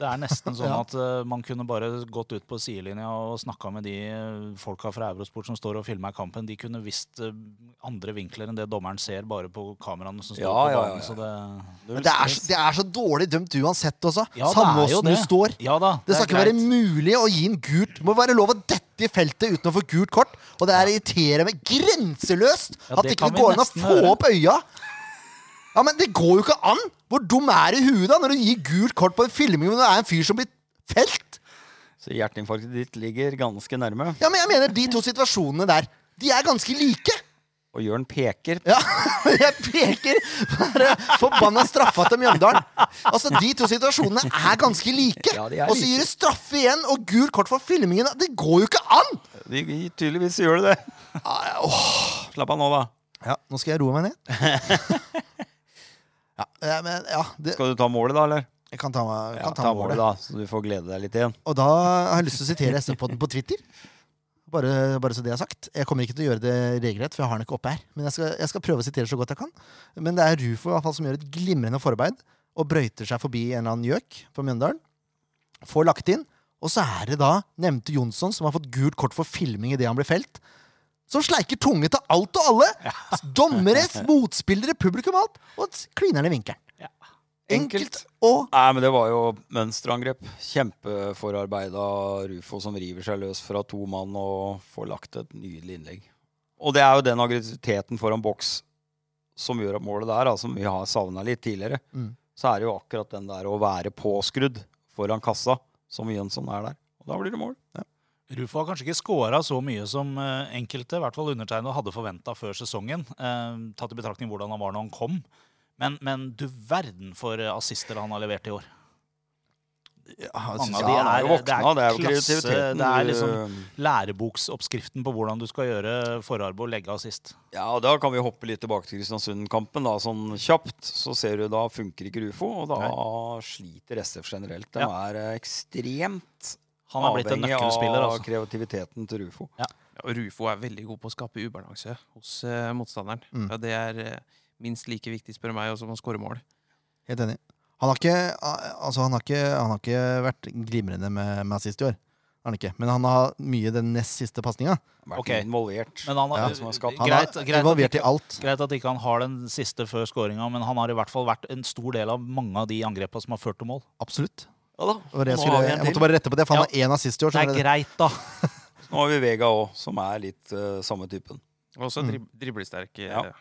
[SPEAKER 3] Det er nesten sånn
[SPEAKER 1] Ja.
[SPEAKER 3] at eh, man kunne bare gått ut på sidelinja og snakka med de eh, folka fra Eurosport som står og filmer kampen. De kunne visst eh, andre vinkler enn det dommeren ser bare på kameraene som står
[SPEAKER 2] Ja, ja,
[SPEAKER 3] på
[SPEAKER 2] ja,
[SPEAKER 3] banen. Så det,
[SPEAKER 1] Men det, er, så- det er så dårlig dømt uansett også.
[SPEAKER 3] Ja,
[SPEAKER 1] Samme
[SPEAKER 3] det er jo
[SPEAKER 1] åssen du
[SPEAKER 3] det.
[SPEAKER 1] står.
[SPEAKER 3] ja da,
[SPEAKER 1] Det skal
[SPEAKER 3] er
[SPEAKER 1] ikke være
[SPEAKER 3] greit.
[SPEAKER 1] mulig å gi en gult. Det må være lov å dette i feltet uten å få gult kort. Og det er irriterende grenseløst
[SPEAKER 3] Ja,
[SPEAKER 1] at
[SPEAKER 3] det
[SPEAKER 1] det ikke
[SPEAKER 3] kan vi
[SPEAKER 1] går an å
[SPEAKER 3] nesten
[SPEAKER 1] få
[SPEAKER 3] høre.
[SPEAKER 1] opp øya. Ja, men det går jo ikke an! Hvor dum er du i huet da når du gir gult kort på en filming hvor det er en fyr som blir felt?
[SPEAKER 2] Så hjerteinfarktet ditt ligger ganske nærme.
[SPEAKER 1] Ja, men jeg mener de to situasjonene der, de er ganske like.
[SPEAKER 2] Og Jørn peker.
[SPEAKER 1] Ja, *laughs* jeg peker på den forbanna straffa til Mjøndalen. Altså, De to situasjonene er ganske like.
[SPEAKER 2] Ja, de er
[SPEAKER 1] og så
[SPEAKER 2] like.
[SPEAKER 1] gir du straffe igjen og gult kort for filmingen. Det går jo ikke an!
[SPEAKER 2] Vi, vi, tydeligvis gjør det det. Slapp av nå, da.
[SPEAKER 1] Ja, nå skal jeg roe
[SPEAKER 2] *laughs*
[SPEAKER 1] meg ned. ja, eh, men ja det,
[SPEAKER 2] Skal du ta målet, da? eller?
[SPEAKER 1] Jeg kan ta, meg- kan ta, målet.
[SPEAKER 2] da, Så du får glede deg litt igjen.
[SPEAKER 1] Og da har jeg lyst til å sitere SV-podden på Twitter. Bare, bare så det er sagt. Jeg kommer ikke til å gjøre det regelrett, for jeg har den ikke oppe her. Men jeg skal, jeg skal prøve å sitere så godt jeg kan. Men det er Rufo i hvert fall som gjør et glimrende forarbeid og brøyter seg forbi en eller annen gjøk fra Mjøndalen. Får lagt inn. Og så er det da nevnte Jonsson, som har fått gult kort for filming idet han blir felt. Som sleiker tunge til alt og alle! Dommere, motspillere, publikum og alt. Og kliner den i vinkelen. Enkelt
[SPEAKER 2] Enkelt.
[SPEAKER 1] og
[SPEAKER 2] Nei, men det var jo mønsterangrep. Kjempeforarbeida Rufo som river seg løs fra to mann og får lagt et nydelig innlegg. Og det er jo den aggressiviteten foran boks som gjør at målet der, da, som vi har savna litt tidligere,
[SPEAKER 1] Mm.
[SPEAKER 2] så er det jo akkurat den der å være påskrudd foran kassa, som Jønsson er der. Og da blir det mål.
[SPEAKER 3] Rufo har kanskje ikke scora så mye som eh, enkelte, i hvert fall undertegnede, hadde forventa før sesongen. eh, Tatt i betraktning hvordan han var når han kom. Men, men du verden for eh, assister han har levert i år. Mange
[SPEAKER 2] Ja,
[SPEAKER 3] av de
[SPEAKER 2] han
[SPEAKER 3] er,
[SPEAKER 2] jo
[SPEAKER 3] det
[SPEAKER 2] våkna,
[SPEAKER 3] er,
[SPEAKER 2] det er jo
[SPEAKER 3] klasse.
[SPEAKER 2] kreativiteten.
[SPEAKER 3] Det er
[SPEAKER 2] du-
[SPEAKER 3] liksom læreboksoppskriften på hvordan du skal gjøre forarbeid og legge assist.
[SPEAKER 2] Ja, og Da kan vi hoppe litt tilbake til Kristiansund-kampen. da, Sånn kjapt så ser du da funker ikke Rufo, og da sliter SF generelt. De er eh, ekstremt
[SPEAKER 3] Han har blitt en
[SPEAKER 2] avhengig
[SPEAKER 3] nøkkelspiller.
[SPEAKER 2] av
[SPEAKER 3] altså.
[SPEAKER 2] kreativiteten til Rufo.
[SPEAKER 4] Ja, og Rufo er veldig god på å skape ubalanse hos eh, motstanderen.
[SPEAKER 1] Mm.
[SPEAKER 4] Ja, det er eh, minst like viktig, spør du meg, også, som å skåre mål.
[SPEAKER 1] Helt enig. Han har ikke, al- altså han har ikke, han har ikke vært glimrende med, med assist i år. Han har ikke. Men han har mye den nest siste pasninga.
[SPEAKER 2] Han har Vært
[SPEAKER 3] Ok.
[SPEAKER 2] involvert.
[SPEAKER 3] Men han
[SPEAKER 1] Ja,
[SPEAKER 3] har,
[SPEAKER 2] som har skapt-
[SPEAKER 1] Han
[SPEAKER 3] greit,
[SPEAKER 1] er
[SPEAKER 3] greit, at
[SPEAKER 1] involvert i
[SPEAKER 3] ikke,
[SPEAKER 1] alt.
[SPEAKER 3] greit at ikke han har den siste før skåringa, men han har i hvert fall vært en stor del av mange av de angrepa som har ført til mål.
[SPEAKER 1] Absolutt.
[SPEAKER 2] Ja da,
[SPEAKER 1] Det var det jeg,
[SPEAKER 2] nå
[SPEAKER 1] skulle,
[SPEAKER 2] har vi en
[SPEAKER 1] jeg måtte
[SPEAKER 2] til.
[SPEAKER 1] bare rette på det, for han har én assist i år.
[SPEAKER 3] Det
[SPEAKER 1] Så
[SPEAKER 3] er
[SPEAKER 1] det,
[SPEAKER 3] greit, da.
[SPEAKER 2] Nå har vi Vega òg, som er litt eh, samme typen.
[SPEAKER 4] Og Også
[SPEAKER 1] Mm.
[SPEAKER 4] drib driblesterk. eh,
[SPEAKER 2] Ja.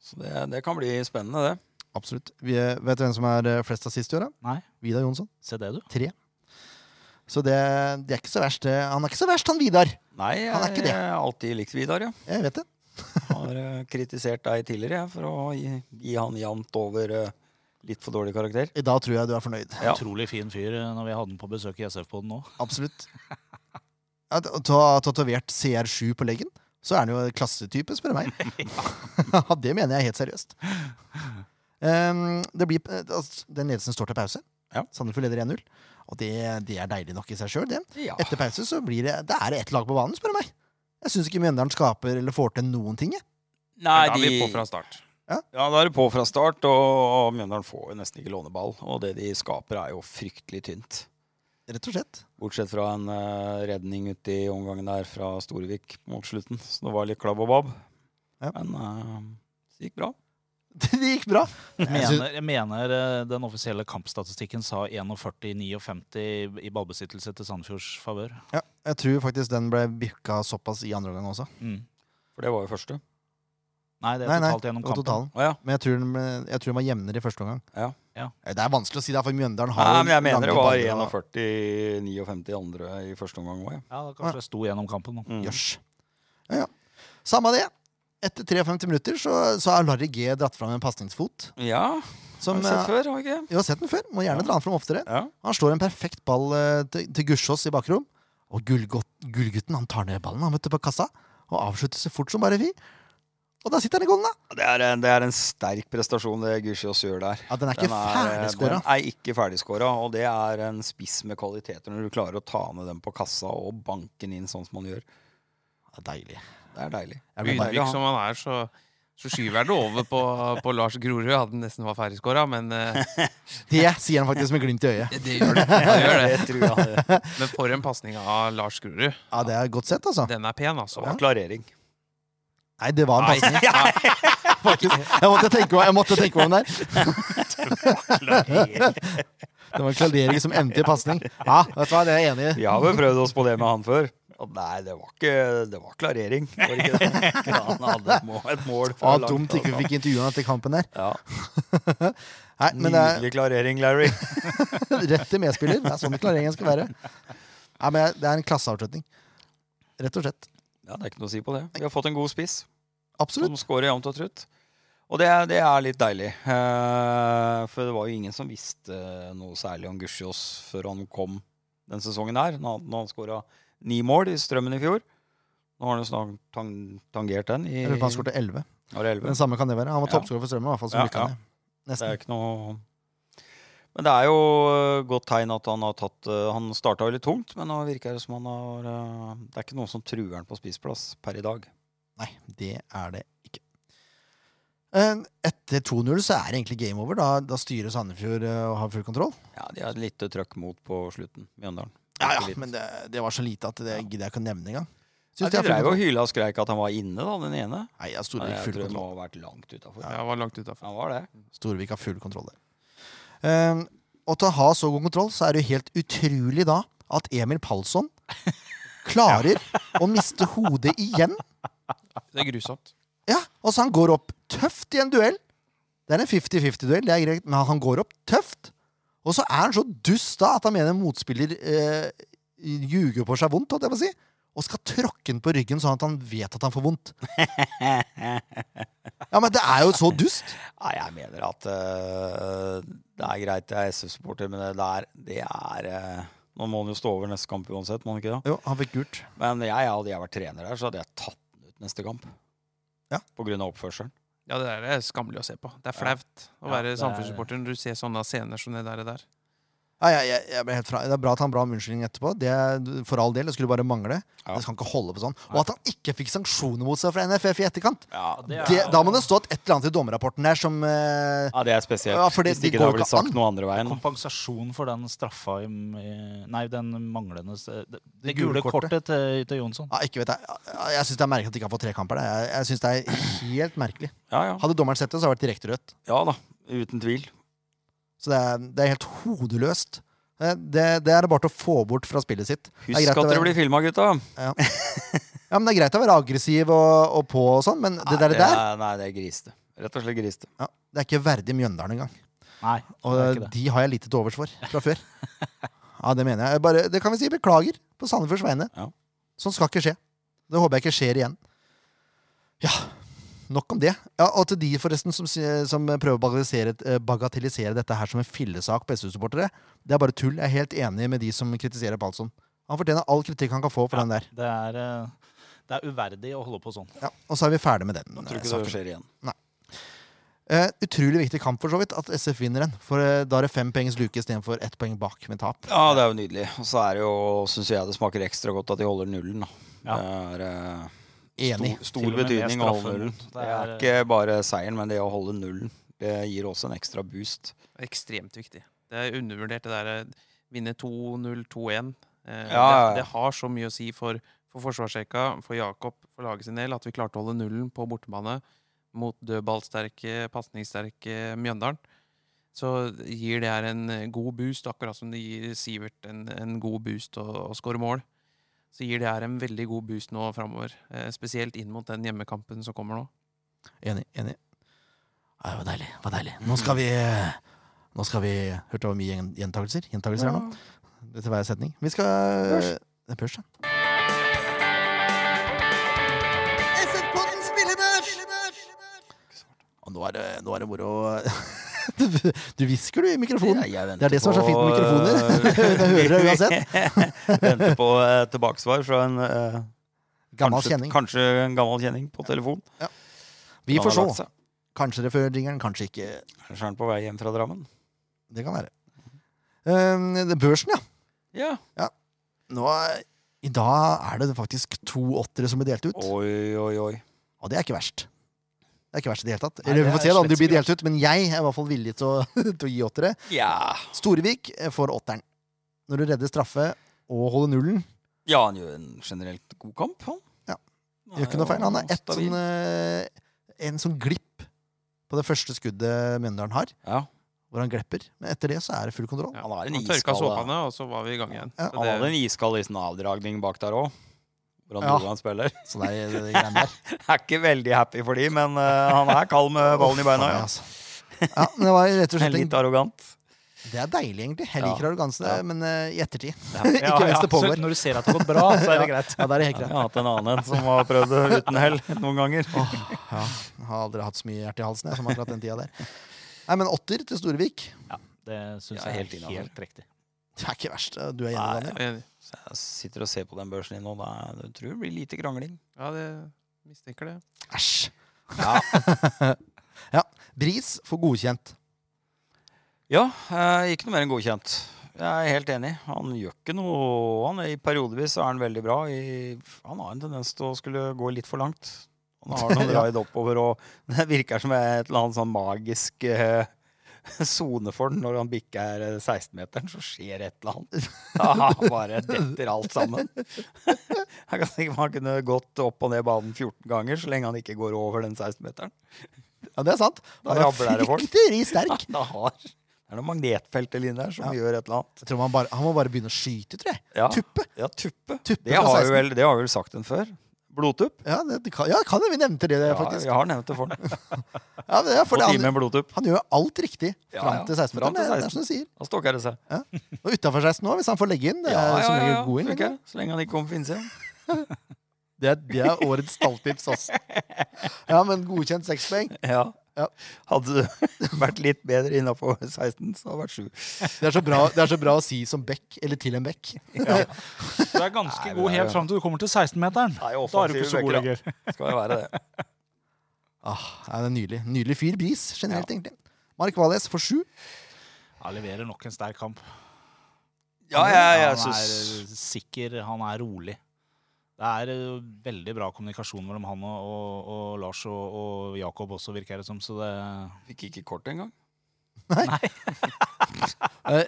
[SPEAKER 2] Så det, det kan bli spennende, det.
[SPEAKER 1] absolutt. Vi, vet du hvem som er eh, flest assist i år? da?
[SPEAKER 3] Nei.
[SPEAKER 1] Vidar Jonsson.
[SPEAKER 3] Se det, du.
[SPEAKER 1] Tre. Så det, det er ikke så verst. det. Han er ikke så verst, han Vidar.
[SPEAKER 2] Nei, jeg
[SPEAKER 1] Han er ikke det.
[SPEAKER 2] jeg har alltid likt Vidar, ja.
[SPEAKER 1] Jeg vet det.
[SPEAKER 2] Har eh, kritisert deg tidligere jeg, for å gi, gi han jevnt over eh, litt for dårlig karakter.
[SPEAKER 1] I dag tror jeg du er fornøyd.
[SPEAKER 2] Ja.
[SPEAKER 3] Utrolig fin fyr eh, når vi hadde han på besøk i SF-poden nå.
[SPEAKER 1] Absolutt. Ja, ta- ta- Tatovert CR7 på leggen, så er han jo klassetype, spør du meg.
[SPEAKER 3] *laughs*
[SPEAKER 1] Ja, *laughs* det mener jeg helt seriøst. Ehm, det blir, eh, altså, den ledelsen står til pause.
[SPEAKER 2] Ja.
[SPEAKER 1] Sandefjord leder 1-0. Og det, det er deilig nok i seg sjøl, det.
[SPEAKER 2] Ja.
[SPEAKER 1] Etter pause så blir det, det er det ett lag på banen, spør du meg. Jeg syns ikke Mjøndalen skaper eller får til noen ting. Jeg.
[SPEAKER 2] Nei,
[SPEAKER 4] Men da er vi
[SPEAKER 2] de-
[SPEAKER 4] på fra start.
[SPEAKER 2] Ja, da er det på fra start, og Mjøndalen får jo nesten ikke låneball. Og det de skaper, er jo fryktelig tynt.
[SPEAKER 1] Rett og slett.
[SPEAKER 2] Bortsett fra en eh, redning ute i omgangen der fra Storevik mot slutten. Så det var litt klabb og babb.
[SPEAKER 1] Ja.
[SPEAKER 2] Men eh, det gikk bra.
[SPEAKER 1] *laughs* Det gikk bra.
[SPEAKER 3] Jeg
[SPEAKER 1] Jeg synes-
[SPEAKER 3] mener, jeg mener eh, den offisielle kampstatistikken sa 41-59 i- i ballbesittelse til Sandefjords favør.
[SPEAKER 1] Ja, jeg tror faktisk den ble bikka såpass i andre omgang også.
[SPEAKER 3] Mm.
[SPEAKER 2] For det var jo første.
[SPEAKER 3] Nei, det er
[SPEAKER 1] Nei, nei,
[SPEAKER 3] totalt gjennom
[SPEAKER 1] og
[SPEAKER 3] kampen.
[SPEAKER 1] totalen.
[SPEAKER 2] Å ja.
[SPEAKER 1] Men jeg tror, den ble, jeg tror den var jevnere i første omgang. Eh,
[SPEAKER 2] Ja.
[SPEAKER 3] Ja.
[SPEAKER 1] Det er vanskelig å si, da, for Mjøndalen har
[SPEAKER 2] Nei,
[SPEAKER 1] jo
[SPEAKER 2] men jeg mener
[SPEAKER 1] lange
[SPEAKER 2] det var
[SPEAKER 1] baller og-
[SPEAKER 2] 41-59 andre i første omgang òg, ja.
[SPEAKER 3] Ja, da kanskje det sto gjennom kampen. Da.
[SPEAKER 2] Mm.
[SPEAKER 1] Jøss. Ja, ja. Samme det. Etter 53 minutter så, så er Larry G dratt fram en pasningsfot.
[SPEAKER 2] Ja,
[SPEAKER 1] Som,
[SPEAKER 2] har vi sett
[SPEAKER 1] eh,
[SPEAKER 2] før, har vi ikke det?
[SPEAKER 1] vi har sett den før. Må gjerne
[SPEAKER 2] Ja.
[SPEAKER 1] dra den fram oftere.
[SPEAKER 2] Ja.
[SPEAKER 1] Han slår en perfekt ball eh, til, til Gussiås i bakrom. Og gullgott- gullgutten han tar ned ballen han vet du, på kassa og avslutter så fort som bare vi. Og da sitter han i golden, da!
[SPEAKER 2] Det er, en- det er en sterk prestasjon det Gushiås gjør der.
[SPEAKER 1] Ja, den er ikke ferdigskåra.
[SPEAKER 2] eh, Den er ikke ferdigskåra, og det er en spiss med kvaliteter når du klarer å ta ned den på kassa og banke den inn sånn som man gjør.
[SPEAKER 1] Ja, deilig.
[SPEAKER 2] Det er deilig.
[SPEAKER 1] Jeg blir
[SPEAKER 2] Deilig å
[SPEAKER 4] Ydmyk
[SPEAKER 2] ha.
[SPEAKER 4] som han er, så, så skyver jeg det over på, på Lars Grorud. Han nesten var ferdigskåra, men
[SPEAKER 2] *laughs*
[SPEAKER 4] eh,
[SPEAKER 1] Det sier han faktisk med glimt i øyet.
[SPEAKER 4] det gjør det. Han gjør det.
[SPEAKER 2] *laughs* Jeg tror jeg
[SPEAKER 4] *laughs*
[SPEAKER 2] hadde-
[SPEAKER 4] Men for en pasning av Lars Grorud.
[SPEAKER 1] Ja, Det er godt sett, altså.
[SPEAKER 4] Den er pen, altså.
[SPEAKER 2] Så var klarering.
[SPEAKER 1] Nei, det var en
[SPEAKER 4] Nei.
[SPEAKER 1] pasning. Faktisk. Jeg måtte tenke meg, jeg måtte tenke meg om der. Det var en klarering som endte i pasning. Ja, vet du hva, det er jeg enig i.
[SPEAKER 2] Vi har vel prøvd oss på det med han før. Og nei, det var ikke Det var klarering. Var det ikke
[SPEAKER 4] *laughs*
[SPEAKER 2] det? Han hadde et mål, et mål
[SPEAKER 1] Ja,
[SPEAKER 2] fra langt
[SPEAKER 1] dumt ikke vi
[SPEAKER 2] avstand.
[SPEAKER 1] fikk intervjue han etter kampen der.
[SPEAKER 2] ja,
[SPEAKER 1] Nei, men eh, det
[SPEAKER 2] Nydelig klarering, Larry.
[SPEAKER 1] er rett til medspiller. Det er sånn klareringen skal være. Nei, men det er en klasseavslutning. Rett og slett.
[SPEAKER 2] Ja, Det er ikke noe å si på det. Vi har fått en god spiss.
[SPEAKER 1] Absolutt.
[SPEAKER 2] som skårer jevnt og trutt. Og det, det er litt deilig. Eh, for det var jo ingen som visste noe særlig om Gussiås før han kom den sesongen her. Når han, når han skåra ni mål i Strømmen i fjor. Nå har han jo snart tang, tangert den. I,
[SPEAKER 1] Jeg lurer på om han skåret 11.
[SPEAKER 2] Nå er det 11.
[SPEAKER 1] Den samme kan det være. Han var
[SPEAKER 2] Ja.
[SPEAKER 1] toppskårer for Strømmen, i hvert fall.
[SPEAKER 2] Ja,
[SPEAKER 1] Som ja,
[SPEAKER 2] ja.
[SPEAKER 1] ned.
[SPEAKER 2] Det
[SPEAKER 1] Nesten.
[SPEAKER 2] er ikke noe Men det er jo eh, godt tegn at han har tatt eh, Han starta jo litt tungt, men nå virker det som han har eh, Det er ikke noen som truer han på spiseplass per i dag.
[SPEAKER 1] Nei, det er det ikke. Eh, Etter 2-0 så er det egentlig game over. Da, da styrer Sandefjord eh, og har full kontroll.
[SPEAKER 2] Ja, De har et lite trøkk mot på slutten, Mjøndalen.
[SPEAKER 1] Ja, ja,
[SPEAKER 2] Litt.
[SPEAKER 1] Men det, det var så lite at det gidder jeg ikke å nevne engang.
[SPEAKER 2] Ja,
[SPEAKER 1] Synes
[SPEAKER 2] de
[SPEAKER 1] de har
[SPEAKER 2] dreiv
[SPEAKER 1] full
[SPEAKER 2] og hyla og skreik at han var inne, da, den ene.
[SPEAKER 1] kontroll. Nei, ja,
[SPEAKER 2] Nei,
[SPEAKER 1] Storvik,
[SPEAKER 2] jeg
[SPEAKER 1] full
[SPEAKER 2] tror det må
[SPEAKER 1] kontroll.
[SPEAKER 2] ha vært langt utafor.
[SPEAKER 4] Jeg var langt utafor.
[SPEAKER 2] Han var det.
[SPEAKER 1] Storvik har full kontroll der. Eh, og til å ha så god kontroll, så er det jo helt utrolig da at Emil Palsson
[SPEAKER 2] *laughs*
[SPEAKER 1] klarer å miste hodet igjen.
[SPEAKER 4] Det er grusomt.
[SPEAKER 1] Ja, og så han går opp tøft i en duell. Det er en 50-50-duell, det er greit, men han går opp tøft. Og så er han så dust da at han mener motspiller eh, ljuger på seg vondt, holdt jeg på å si. Og skal tråkke den på ryggen sånn at han vet at han får
[SPEAKER 2] *laughs*
[SPEAKER 1] vondt. Ja, men det er jo så dust.
[SPEAKER 2] Nei, jeg mener at øh, det er greit, jeg er SF-supporter, men det der, det er øh, Nå må han jo stå over neste kamp uansett, må han ikke det?
[SPEAKER 1] Jo, han fikk gult.
[SPEAKER 2] Men jeg, hadde jeg vært trener her, så hadde jeg tatt den ut neste kamp.
[SPEAKER 1] Ja.
[SPEAKER 2] På grunn av oppførselen.
[SPEAKER 4] Ja, det der er skammelig å se på. Det er flaut å
[SPEAKER 2] Ja,
[SPEAKER 4] være
[SPEAKER 2] det er-
[SPEAKER 4] samfunnssupporter når du ser sånne scener som det der. der.
[SPEAKER 1] Nei, jeg, jeg, jeg ble helt fra. Det er bra at han ba om unnskyldning etterpå. Det er, for all del, det skulle bare mangle.
[SPEAKER 2] Ja.
[SPEAKER 1] Det kan ikke holde på sånn. Og at han ikke fikk sanksjoner mot seg fra NFF i etterkant.
[SPEAKER 2] Ja,
[SPEAKER 3] det er-
[SPEAKER 1] Det, da må det stå et eller annet i dommerrapporten der som eh,
[SPEAKER 2] det er spesielt.
[SPEAKER 1] Ja, for det-
[SPEAKER 2] Hvis
[SPEAKER 1] det
[SPEAKER 2] ikke det
[SPEAKER 1] går jo
[SPEAKER 2] har blitt
[SPEAKER 1] ikke
[SPEAKER 2] sagt
[SPEAKER 1] an.
[SPEAKER 2] noe andre veien.
[SPEAKER 1] Mm.
[SPEAKER 3] Kompensasjon for den straffa i, i- Nei, den manglende s- eh, Det, det
[SPEAKER 1] gule
[SPEAKER 3] gule
[SPEAKER 1] kortet.
[SPEAKER 3] kortet til, til Jonsson.
[SPEAKER 1] Ja, ikke vet jeg. Ja, jeg syns det er merkelig at de ikke har fått tre kamper. der. Jeg, jeg synes det er helt merkelig.
[SPEAKER 2] Ja, ja.
[SPEAKER 1] Hadde dommeren sett det, så hadde det vært direkte rødt.
[SPEAKER 2] ja da, uten tvil.
[SPEAKER 1] Så det er, det er helt hodeløst. Eh, Det, det er det bare til å få bort fra spillet sitt. Det er
[SPEAKER 2] Husk
[SPEAKER 1] greit
[SPEAKER 2] at
[SPEAKER 1] å
[SPEAKER 2] dere
[SPEAKER 1] være-
[SPEAKER 2] blir filma, gutta.
[SPEAKER 1] Ja, men Det er greit å være aggressiv og, og på, og sånn, men det
[SPEAKER 2] Nei,
[SPEAKER 1] der, det der
[SPEAKER 2] er- Nei, det er griste. Rett og slett griste.
[SPEAKER 1] ja, Det er ikke verdig Mjøndalen engang.
[SPEAKER 3] Nei,
[SPEAKER 1] Og
[SPEAKER 3] det er ikke det.
[SPEAKER 1] de har jeg lite til overs for fra før. *laughs* Ja, Det mener jeg. Bare, det kan vi si. Beklager på Sandefjords vegne.
[SPEAKER 2] Ja.
[SPEAKER 1] Sånt skal ikke skje. Det håper jeg ikke skjer igjen. Ja, nok om det. Ja, og til de forresten som, si- som prøver å bagatellisere, eh, bagatellisere dette her som en fillesak på SU-supportere. Det er bare tull. Jeg er helt enig med de som kritiserer Palsson. Han fortjener all kritikk han kan få for den der.
[SPEAKER 3] Det er, eh, det er uverdig å holde på sånn.
[SPEAKER 1] Ja, og så er vi ferdig med den.
[SPEAKER 2] Tror
[SPEAKER 1] eh,
[SPEAKER 2] ikke det
[SPEAKER 1] saken.
[SPEAKER 2] skjer igjen.
[SPEAKER 1] Eh, utrolig viktig kamp for så vidt at SF vinner den. For eh, da er det fem poengs luke istedenfor ett poeng bak med tap.
[SPEAKER 2] Ja, det er jo nydelig. Og så er det jo, syns jeg det smaker ekstra godt at de holder nullen, da.
[SPEAKER 3] Ja.
[SPEAKER 2] Det er eh,
[SPEAKER 1] Enig.
[SPEAKER 2] stor, stor
[SPEAKER 3] Til og med med
[SPEAKER 2] betydning å holde
[SPEAKER 3] straffen.
[SPEAKER 2] nullen.
[SPEAKER 3] Det
[SPEAKER 2] Det er
[SPEAKER 3] er-
[SPEAKER 2] ikke bare seieren, men det å holde nullen. Det gir også en ekstra boost.
[SPEAKER 4] Ekstremt viktig. Det er undervurdert, det der eh, vinne 2-0, 2-1. Eh,
[SPEAKER 2] Ja, ja, ja.
[SPEAKER 4] det, det har så mye å si for, for forsvarsrekka, for Jakob, for laget sin del, at vi klarte å holde nullen på bortebane mot dødballsterke, pasningssterke Mjøndalen. Så gir det her en eh, god boost, akkurat som det gir Sivert en, en god boost å, å score mål. Så gir det her en veldig god boost nå framover, eh, spesielt inn mot den hjemmekampen som kommer nå.
[SPEAKER 1] Enig. enig. Ja, det var deilig. det var deilig. Nå skal vi Nå skal vi Hørte du hvor mye gjen- gjentakelser? Gjentakelser her nå? Til hver setning. Vi skal
[SPEAKER 2] Børs.
[SPEAKER 1] Det er Børs, ja. Og nå er det, nå er det moro *laughs* du, du hvisker, du, i mikrofonen. Det er det som er så fint med mikrofoner. Jeg hører *laughs* det
[SPEAKER 2] uansett. venter på eh, *laughs* tilbakesvar fra en eh,
[SPEAKER 1] Gammel
[SPEAKER 2] kanskje,
[SPEAKER 1] kjenning.
[SPEAKER 2] Kanskje en gammel kjenning på telefon.
[SPEAKER 1] Vi
[SPEAKER 2] Han
[SPEAKER 1] får
[SPEAKER 2] har lagt
[SPEAKER 1] se.
[SPEAKER 2] seg.
[SPEAKER 1] Kanskje det fører jingeren, kanskje ikke.
[SPEAKER 2] Kanskje er han på vei hjem fra Drammen.
[SPEAKER 1] Det kan være. Um, det er børsen, ja.
[SPEAKER 2] Ja.
[SPEAKER 1] Nå, er- I dag er det faktisk to åttere som blir delt ut.
[SPEAKER 2] Oi, oi, oi.
[SPEAKER 1] Og det er ikke verst. Det er ikke verst i det hele tatt.
[SPEAKER 3] Nei,
[SPEAKER 1] Eller vi
[SPEAKER 3] det
[SPEAKER 1] får
[SPEAKER 3] er
[SPEAKER 1] se da om
[SPEAKER 3] slett
[SPEAKER 1] de blir
[SPEAKER 3] ikke
[SPEAKER 1] delt ut, men jeg er i hvert fall villig til å, *laughs* til å gi åttere.
[SPEAKER 2] Ja.
[SPEAKER 1] Storevik får åtteren. Når du redder straffe og holder nullen
[SPEAKER 2] ja, han gjør en generelt god kamp, han.
[SPEAKER 1] Ja.
[SPEAKER 2] Han er
[SPEAKER 1] Gjør ikke noe feil. Han
[SPEAKER 2] jo
[SPEAKER 1] har ett
[SPEAKER 2] stabil.
[SPEAKER 1] sånn, eh, en sånn glipp på det første skuddet Mjøndalen har,
[SPEAKER 2] Ja.
[SPEAKER 1] hvor han glepper. Men etter det så er det full kontroll.
[SPEAKER 4] Ja.
[SPEAKER 2] Han har en
[SPEAKER 4] Han tørka
[SPEAKER 2] iskald, da.
[SPEAKER 4] såpene, og så var vi i gang igjen.
[SPEAKER 1] Ja,
[SPEAKER 4] Så
[SPEAKER 2] Han
[SPEAKER 4] det-
[SPEAKER 2] hadde en iskald liten avdragning bak der òg. Hvordan
[SPEAKER 1] Ja.
[SPEAKER 2] dro han spiller. *laughs*
[SPEAKER 1] Så det er det er greiene
[SPEAKER 3] *laughs*
[SPEAKER 1] der.
[SPEAKER 2] Jeg er ikke veldig happy for de, men eh, han er kald med ballen i beina.
[SPEAKER 1] Faen,
[SPEAKER 2] Ja.
[SPEAKER 1] altså. Ja, men det var rett og
[SPEAKER 2] Men
[SPEAKER 1] slett
[SPEAKER 2] Litt
[SPEAKER 1] en,
[SPEAKER 2] arrogant.
[SPEAKER 1] Det er deilig, egentlig. Jeg
[SPEAKER 2] Ja.
[SPEAKER 1] liker arroganse,
[SPEAKER 2] Ja.
[SPEAKER 1] men eh, i ettertid.
[SPEAKER 3] Ja,
[SPEAKER 1] *laughs* ikke mens
[SPEAKER 3] ja,
[SPEAKER 1] det pågår.
[SPEAKER 3] så når du ser at det har gått bra, så er det greit.
[SPEAKER 1] *laughs* Ja, da er det helt
[SPEAKER 2] Jeg
[SPEAKER 1] greit.
[SPEAKER 2] har hatt en annen en som har prøvd det uten hell noen ganger.
[SPEAKER 1] Åh, ja. Jeg har aldri hatt så mye hjerte i halsen jeg, som akkurat den tida der. Nei, men åtter til Storevik.
[SPEAKER 3] Det syns
[SPEAKER 2] Ja,
[SPEAKER 3] jeg er
[SPEAKER 2] helt
[SPEAKER 3] helt,
[SPEAKER 2] innenfor.
[SPEAKER 3] riktig.
[SPEAKER 1] Det er ikke verst. Du er enig, Daniel?
[SPEAKER 4] Jeg er enig.
[SPEAKER 2] Så jeg sitter og ser på den børsen din, og det er- jeg tror det blir lite krangling.
[SPEAKER 4] Ja, det mistenker det.
[SPEAKER 1] Æsj.
[SPEAKER 2] Ja.
[SPEAKER 1] *laughs* ja. Bris får godkjent.
[SPEAKER 2] Ja, eh, ikke noe mer enn godkjent. Jeg er helt enig. Han gjør ikke noe han er, i Periodevis så er han veldig bra. I, han har en tendens til å skulle gå litt for langt. Han
[SPEAKER 1] *laughs*
[SPEAKER 2] har noen
[SPEAKER 1] Ja.
[SPEAKER 2] raid oppover, og det virker som et eller annet sånn magisk eh, *laughs* sone for den. Når han bikker eh, 16-meteren, så skjer et eller annet. *laughs* Da bare detter alt sammen. *laughs* Jeg kan tenke meg han kunne gått opp og ned banen 14 ganger så lenge han ikke går over den 16-meteren.
[SPEAKER 1] Ja, det er sant.
[SPEAKER 2] Da
[SPEAKER 1] Han er
[SPEAKER 2] rabler det folk.
[SPEAKER 1] fryktelig
[SPEAKER 2] *laughs*
[SPEAKER 1] sterk.
[SPEAKER 2] Det har- det er noen magnetfelt i linjen der som
[SPEAKER 1] Ja.
[SPEAKER 2] gjør et eller annet.
[SPEAKER 1] Jeg tror man bare, han må bare begynne å skyte, tror jeg.
[SPEAKER 2] Ja.
[SPEAKER 1] Tuppe.
[SPEAKER 2] Ja, tuppe.
[SPEAKER 1] Tuppe
[SPEAKER 2] det,
[SPEAKER 1] fra
[SPEAKER 2] har vi
[SPEAKER 1] 16.
[SPEAKER 2] vel, det har vi vel sagt den før. Blodtupp.
[SPEAKER 1] Ja, det, det kan, ja, kan det, vi nevnte det,
[SPEAKER 2] Ja,
[SPEAKER 1] faktisk.
[SPEAKER 2] vi har nevnt det for den.
[SPEAKER 1] Ja, det er
[SPEAKER 2] På
[SPEAKER 1] for det,
[SPEAKER 2] time
[SPEAKER 1] han,
[SPEAKER 2] med blodtupp.
[SPEAKER 1] han gjør alt riktig
[SPEAKER 2] Ja,
[SPEAKER 1] fram
[SPEAKER 2] ja.
[SPEAKER 1] til 16
[SPEAKER 2] Fram til
[SPEAKER 1] minutter. Det er
[SPEAKER 2] 16.
[SPEAKER 1] som du sier.
[SPEAKER 2] Da stokker det seg.
[SPEAKER 1] Og utafor 16 nå, hvis han får legge inn. Det er som regel god inn.
[SPEAKER 2] Funker. Så lenge han ikke kommer finnes igjen.
[SPEAKER 1] Det er, det er årets stalltips
[SPEAKER 2] *laughs*
[SPEAKER 1] også. Ja, men godkjent sekspoeng.
[SPEAKER 2] Ja.
[SPEAKER 1] Ja.
[SPEAKER 2] Hadde du *laughs* vært litt bedre innafor 16, så hadde det vært 7.
[SPEAKER 1] Det, er så bra- det er så bra å si som bekk, eller til en bekk.
[SPEAKER 3] *laughs* Du er ganske
[SPEAKER 2] Nei, men
[SPEAKER 3] god
[SPEAKER 2] det er jo-
[SPEAKER 3] helt fram til du kommer til 16-meteren.
[SPEAKER 2] Det er jo
[SPEAKER 3] Da er du ikke så
[SPEAKER 2] offensive
[SPEAKER 3] god
[SPEAKER 2] backer,
[SPEAKER 3] lenger.
[SPEAKER 2] da. Skal jo være det.
[SPEAKER 1] Ah, ja, det er Nydelig. Nydelig fyr bris, generelt, egentlig. Mark Valles får sju.
[SPEAKER 3] Han leverer nok en sterk kamp.
[SPEAKER 2] *laughs* Ja, jeg, jeg
[SPEAKER 3] han
[SPEAKER 2] syns
[SPEAKER 3] er eh, sikker, han er rolig. Det er eh, veldig bra kommunikasjon mellom han og, og, og Lars og, og Jakob også, virker det som. Så det
[SPEAKER 2] Fikk ikke kort engang.
[SPEAKER 1] Eh,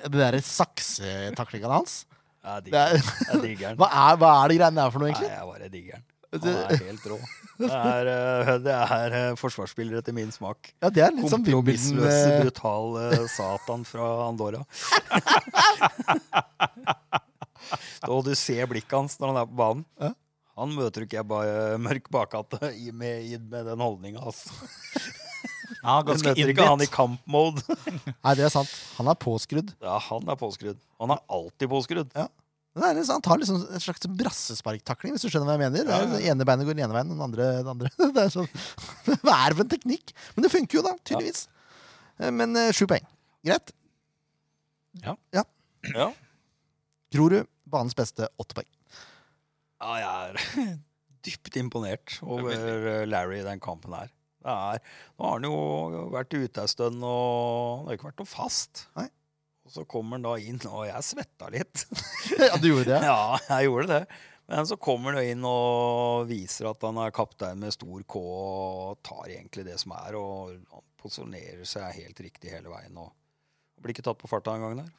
[SPEAKER 1] Det derre saksetaklinga hans.
[SPEAKER 2] Jeg
[SPEAKER 1] Det er,
[SPEAKER 2] digger den. Jeg digger den.
[SPEAKER 1] hva, er, hva er det greiene der for noe,
[SPEAKER 2] Nei,
[SPEAKER 1] egentlig?
[SPEAKER 2] jeg bare digger den. Han
[SPEAKER 1] Det-
[SPEAKER 2] er helt rå. Det er, eh, *laughs* det er eh, forsvarsspillere etter min smak.
[SPEAKER 1] Ja, det er litt som Wimbledon.
[SPEAKER 2] Kompromissløse,
[SPEAKER 1] eh,
[SPEAKER 2] brutale satan fra Andorra. Og du ser blikket hans når han er på banen.
[SPEAKER 1] Ja.
[SPEAKER 2] Han møter ikke jeg bare mørk bakgate i- med, i- med den holdninga. Altså.
[SPEAKER 3] ja,
[SPEAKER 2] *laughs* Du
[SPEAKER 3] ganske
[SPEAKER 2] møter ikke han i
[SPEAKER 3] innbitt.
[SPEAKER 2] kampmode.
[SPEAKER 1] Nei, det er sant. Han er påskrudd.
[SPEAKER 2] Ja, han er påskrudd. Han er alltid påskrudd.
[SPEAKER 1] Men Det er liksom, han tar liksom en slags brassesparktakling, hvis du skjønner hva jeg mener. Det er, det ene beinet går den ene veien, og den andre den andre. *laughs* Det er sånn, hva er det for en teknikk? Men det funker jo, da, tydeligvis. Eh, Men eh, sju poeng. Greit.
[SPEAKER 2] Ja.
[SPEAKER 1] Grorud, banens beste, åtte poeng. *laughs*
[SPEAKER 2] Ja, jeg er *laughs* dypt imponert over Larry i den kampen her. Det er, nå har han jo vært ute en stund, og han har ikke vært noe fast.
[SPEAKER 1] Nei.
[SPEAKER 2] Og så kommer han da inn, og jeg svetta litt. *laughs*
[SPEAKER 1] Ja, du gjorde det?
[SPEAKER 2] Ja, jeg gjorde det. Men så kommer han jo inn og viser at han er kaptein med stor K og tar egentlig det som er, og han posisjonerer seg helt riktig hele veien. Og blir ikke tatt på farta en gang der.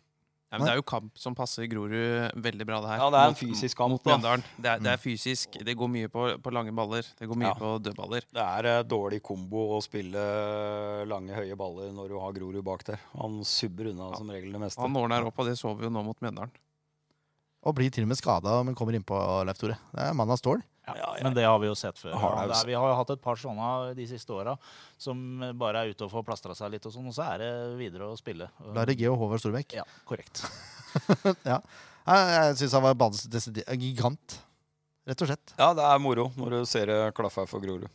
[SPEAKER 4] Ja, men det er jo kamp som passer Grorud veldig bra, det her.
[SPEAKER 2] Ja, det er en
[SPEAKER 4] Mot-
[SPEAKER 2] fysisk kamp.
[SPEAKER 4] mot
[SPEAKER 2] Da. Mm.
[SPEAKER 4] Mjøndalen. Det er, det er fysisk. Det går mye på, på lange baller. Det går mye
[SPEAKER 2] Ja.
[SPEAKER 4] på dødballer.
[SPEAKER 2] Det er eh, dårlig kombo å spille eh, lange, høye baller når du har Grorud bak der. Han subber unna som regel det meste.
[SPEAKER 4] Han ordner opp, og det så vi jo nå mot Mjøndalen.
[SPEAKER 1] Og blir til og med skada, men kommer innpå, Leif Tore. Det er mann av stål.
[SPEAKER 3] Ja,
[SPEAKER 2] Ja, ja.
[SPEAKER 3] Men det har vi jo sett før.
[SPEAKER 2] Har
[SPEAKER 3] Ja,
[SPEAKER 2] det altså. jo
[SPEAKER 3] det
[SPEAKER 2] sett.
[SPEAKER 3] er, vi har jo hatt et par sånne de siste åra som bare er ute og får plastra seg litt, og sånn, og så er det videre å spille.
[SPEAKER 1] Larry G og Håvard Storbekk.
[SPEAKER 3] Ja, korrekt.
[SPEAKER 1] ja. Jeg, jeg syns han var banens desidert- gigant, rett og slett.
[SPEAKER 2] Ja, det er moro når du ser det klaffer for Grorud.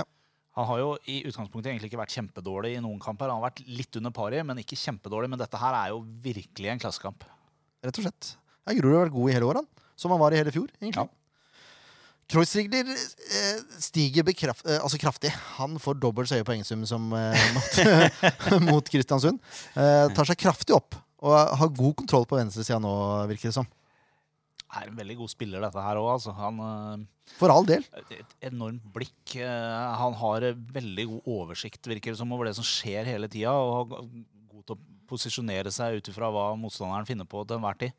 [SPEAKER 3] Han har jo i utgangspunktet egentlig ikke vært kjempedårlig i noen kamper. Han har vært litt under pari, men ikke kjempedårlig. Men dette her er jo virkelig en klassekamp.
[SPEAKER 1] Rett og slett. Jeg gror har vært god i hele år, han. Som han var i hele fjor, egentlig. Kreuzrigler eh, stiger bekraft, eh, altså kraftig. Han får dobbelt så høy poengsum som eh, *laughs* mot, *laughs* mot Kristiansund. Eh, tar seg kraftig opp og har god kontroll på venstresida nå, virker det som.
[SPEAKER 3] Er en veldig god spiller, dette her òg, altså. Han øh,
[SPEAKER 1] For all del.
[SPEAKER 3] Et enormt blikk. eh, Han har eh, veldig god oversikt, virker det som, over det som skjer hele tida. Og har god til å posisjonere seg ut ifra hva motstanderen finner på til enhver tid.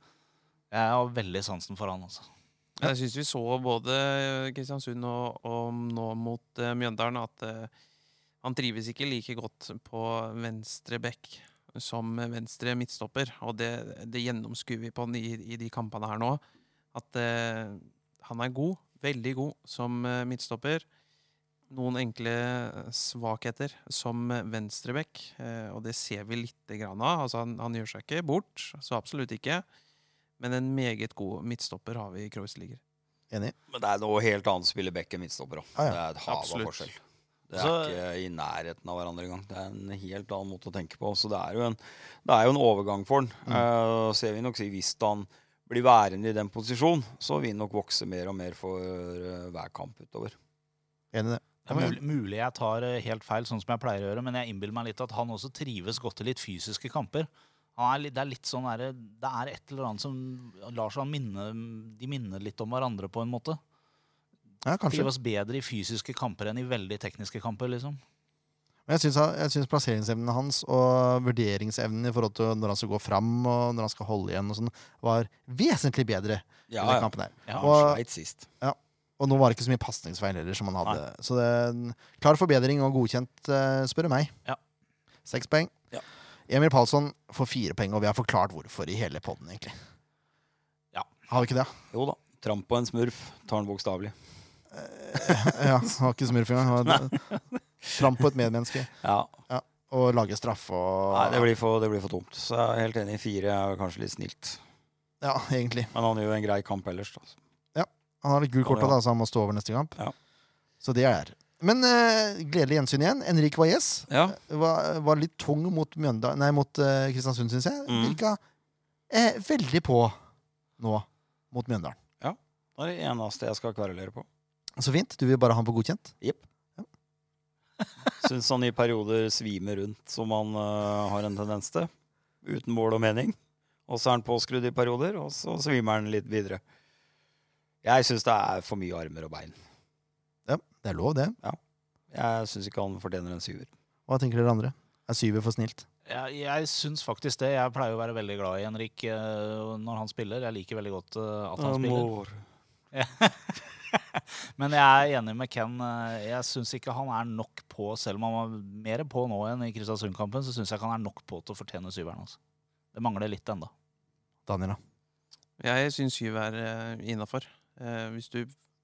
[SPEAKER 3] Jeg har veldig sansen for han, altså.
[SPEAKER 4] Jeg syns vi så både eh, Kristiansund og, og nå mot eh, Mjøndalen at eh, han trives ikke like godt på venstre bekk som venstre midtstopper. Og det, det gjennomskuer vi på han i, i de kampene her nå. At eh, han er god, veldig god, som eh, midtstopper. Noen enkle svakheter som venstrebekk, eh, og det ser vi lite grann av. Altså, han, han gjør seg ikke bort, så absolutt ikke. Men en meget god midtstopper har vi i Kreuzliger.
[SPEAKER 1] Enig.
[SPEAKER 2] Men det er noe helt annet å spille back enn midtstopper. da.
[SPEAKER 1] Ja, ja.
[SPEAKER 2] Det er et hav av
[SPEAKER 4] Absolutt.
[SPEAKER 2] forskjell. Det er
[SPEAKER 3] Så-
[SPEAKER 2] ikke i nærheten av hverandre engang. Det er en helt annen måte å tenke på. Så det er jo en, det er jo en overgang for han.
[SPEAKER 1] Mm.
[SPEAKER 2] Eh, så jeg vil nok si hvis han blir værende i den posisjonen, så vil han nok vokse mer og mer for eh, hver kamp utover.
[SPEAKER 1] Enig i det.
[SPEAKER 3] Det er mulig, mulig jeg tar eh, helt feil, sånn som jeg pleier å gjøre, men jeg innbiller meg litt at han også trives godt i litt fysiske kamper. Han er, litt- det er litt sånn derre- Det er et eller annet som lar seg minne De minner litt om hverandre, på en måte.
[SPEAKER 1] Ja, kanskje.
[SPEAKER 3] Trives bedre i fysiske kamper enn i veldig tekniske kamper, liksom.
[SPEAKER 1] Men jeg syns, han- jeg syns plasseringsevnen hans og vurderingsevnen i forhold til når han skal gå fram og når han skal holde igjen, og sånn, var vesentlig bedre. i
[SPEAKER 2] Ja,
[SPEAKER 1] den
[SPEAKER 2] ja.
[SPEAKER 1] kampen her.
[SPEAKER 3] Ja,
[SPEAKER 1] og,
[SPEAKER 2] Sleit sist.
[SPEAKER 1] og nå var det ikke så mye pasningsfeil heller. som han hadde. Så det er en klar forbedring og godkjent, eh, spør du meg.
[SPEAKER 3] Ja.
[SPEAKER 1] Seks poeng.
[SPEAKER 2] Ja.
[SPEAKER 1] Emil Palsson får fire poeng, og vi har forklart hvorfor i hele poden, egentlig.
[SPEAKER 3] Ja.
[SPEAKER 1] Har vi ikke det? *laughs*
[SPEAKER 2] Jo da. Tramp på en smurf. Tar den bokstavelig.
[SPEAKER 1] ja, det var ikke smurf engang. Det var- Tramp på et medmenneske
[SPEAKER 2] Ja.
[SPEAKER 1] og lage straffe og
[SPEAKER 2] Nei, det blir, for, det blir for tomt. Så jeg er helt enig. Fire er kanskje litt snilt.
[SPEAKER 1] Ja, egentlig.
[SPEAKER 2] Men han gjør jo en grei kamp ellers. Da.
[SPEAKER 1] Han har et gult kort,
[SPEAKER 2] Ja.
[SPEAKER 1] da, så han må stå over neste kamp.
[SPEAKER 2] Ja.
[SPEAKER 1] Så det er Men eh, gledelig gjensyn igjen. Henrik Valles
[SPEAKER 2] Ja.
[SPEAKER 1] var, var litt tung mot, Mjønda, nei, mot eh, Kristiansund, syns jeg.
[SPEAKER 2] Mm.
[SPEAKER 1] Virka eh, veldig på nå mot Mjøndalen.
[SPEAKER 2] Det er det eneste jeg skal kverulere på.
[SPEAKER 1] Så fint. Du vil bare ha han på godkjent?
[SPEAKER 2] Syns han i perioder svimer rundt, som han øh, har en tendens til. Uten mål og mening. Og så er han påskrudd i perioder, og så svimer han litt videre. Jeg syns det er for mye armer og bein.
[SPEAKER 1] Ja, det er lov, det.
[SPEAKER 2] Jeg syns ikke han fortjener en syver.
[SPEAKER 1] Hva tenker dere andre? Er syver for snilt?
[SPEAKER 3] Jeg, jeg syns faktisk det. Jeg pleier å være veldig glad i Henrik eh, når han spiller. Jeg liker veldig godt eh, at han spiller. *laughs* Men jeg er enig med Ken. eh, Jeg syns ikke han er nok på, selv om han var mer på nå enn i Kristiansund-kampen, så syns jeg ikke han er nok på til å fortjene syveren. Altså. Det mangler litt ennå.
[SPEAKER 1] Daniel, da?
[SPEAKER 4] Jeg syns syv er eh, innafor. Hvis du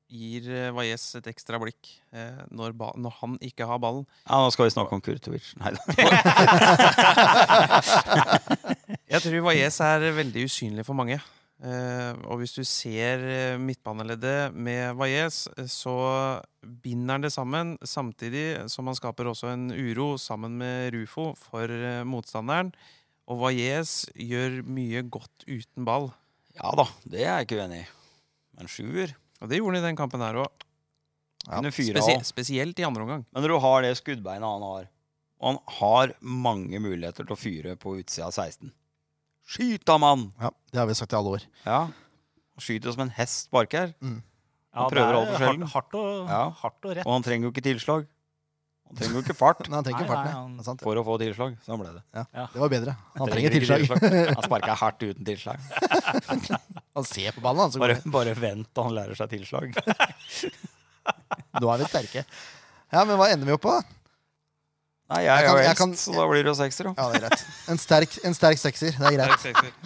[SPEAKER 4] gir eh, Valles et ekstra blikk eh, når, ba når han ikke har ballen
[SPEAKER 2] Ja, nå skal vi snakke om Kurtovic. Nei da. *laughs*
[SPEAKER 4] Jeg tror Valles er veldig usynlig for mange. Eh, og hvis du ser eh, midtbaneleddet med Valles, eh, så binder han det sammen, samtidig som han skaper også en uro sammen med Rufo for eh, motstanderen. Og Valles gjør mye godt uten ball.
[SPEAKER 2] Ja da, det er jeg ikke uenig i. Men sjuer
[SPEAKER 4] Og det gjorde han i den kampen her òg.
[SPEAKER 1] Ja,
[SPEAKER 2] Kunne fyre
[SPEAKER 4] Spesie
[SPEAKER 2] av.
[SPEAKER 4] spesielt i andre omgang.
[SPEAKER 2] Men når du har det skuddbeinet han har, og han har mange muligheter til å fyre på utsida av 16 Skyt da, mann!
[SPEAKER 1] Ja, det har vi sagt i alle år.
[SPEAKER 2] Ja. Han skyter som en hest barker,
[SPEAKER 3] Ja,
[SPEAKER 2] prøver alt for sjelden.
[SPEAKER 3] hardt, hardt, og,
[SPEAKER 2] Ja.
[SPEAKER 3] hardt og rett.
[SPEAKER 2] og han trenger jo ikke tilslag. Han trenger jo ikke fart
[SPEAKER 1] Men han trenger
[SPEAKER 3] Nei,
[SPEAKER 1] farten.
[SPEAKER 3] nei,
[SPEAKER 1] ja.
[SPEAKER 3] han-
[SPEAKER 1] Det er sant.
[SPEAKER 2] for å få tilslag. Sånn ble det.
[SPEAKER 1] Det var bedre. Han
[SPEAKER 2] Trenger
[SPEAKER 1] trenger
[SPEAKER 2] ikke
[SPEAKER 1] tilslag.
[SPEAKER 2] *laughs* Han sparker hardt uten tilslag.
[SPEAKER 1] *laughs* Han ser på ballen, han. Så går
[SPEAKER 2] Bare,
[SPEAKER 1] det.
[SPEAKER 2] bare vent til han lærer seg tilslag.
[SPEAKER 1] Nå er vi sterke. Ja, men hva ender vi opp på? da?
[SPEAKER 2] Nei,
[SPEAKER 1] Jeg
[SPEAKER 2] jeg er
[SPEAKER 1] kan-
[SPEAKER 2] jo
[SPEAKER 1] jeg kan-
[SPEAKER 2] eldst, så da blir det jo sekser, da.
[SPEAKER 1] Ja, det er greit. En sterk, en sterk sekser. Det er greit.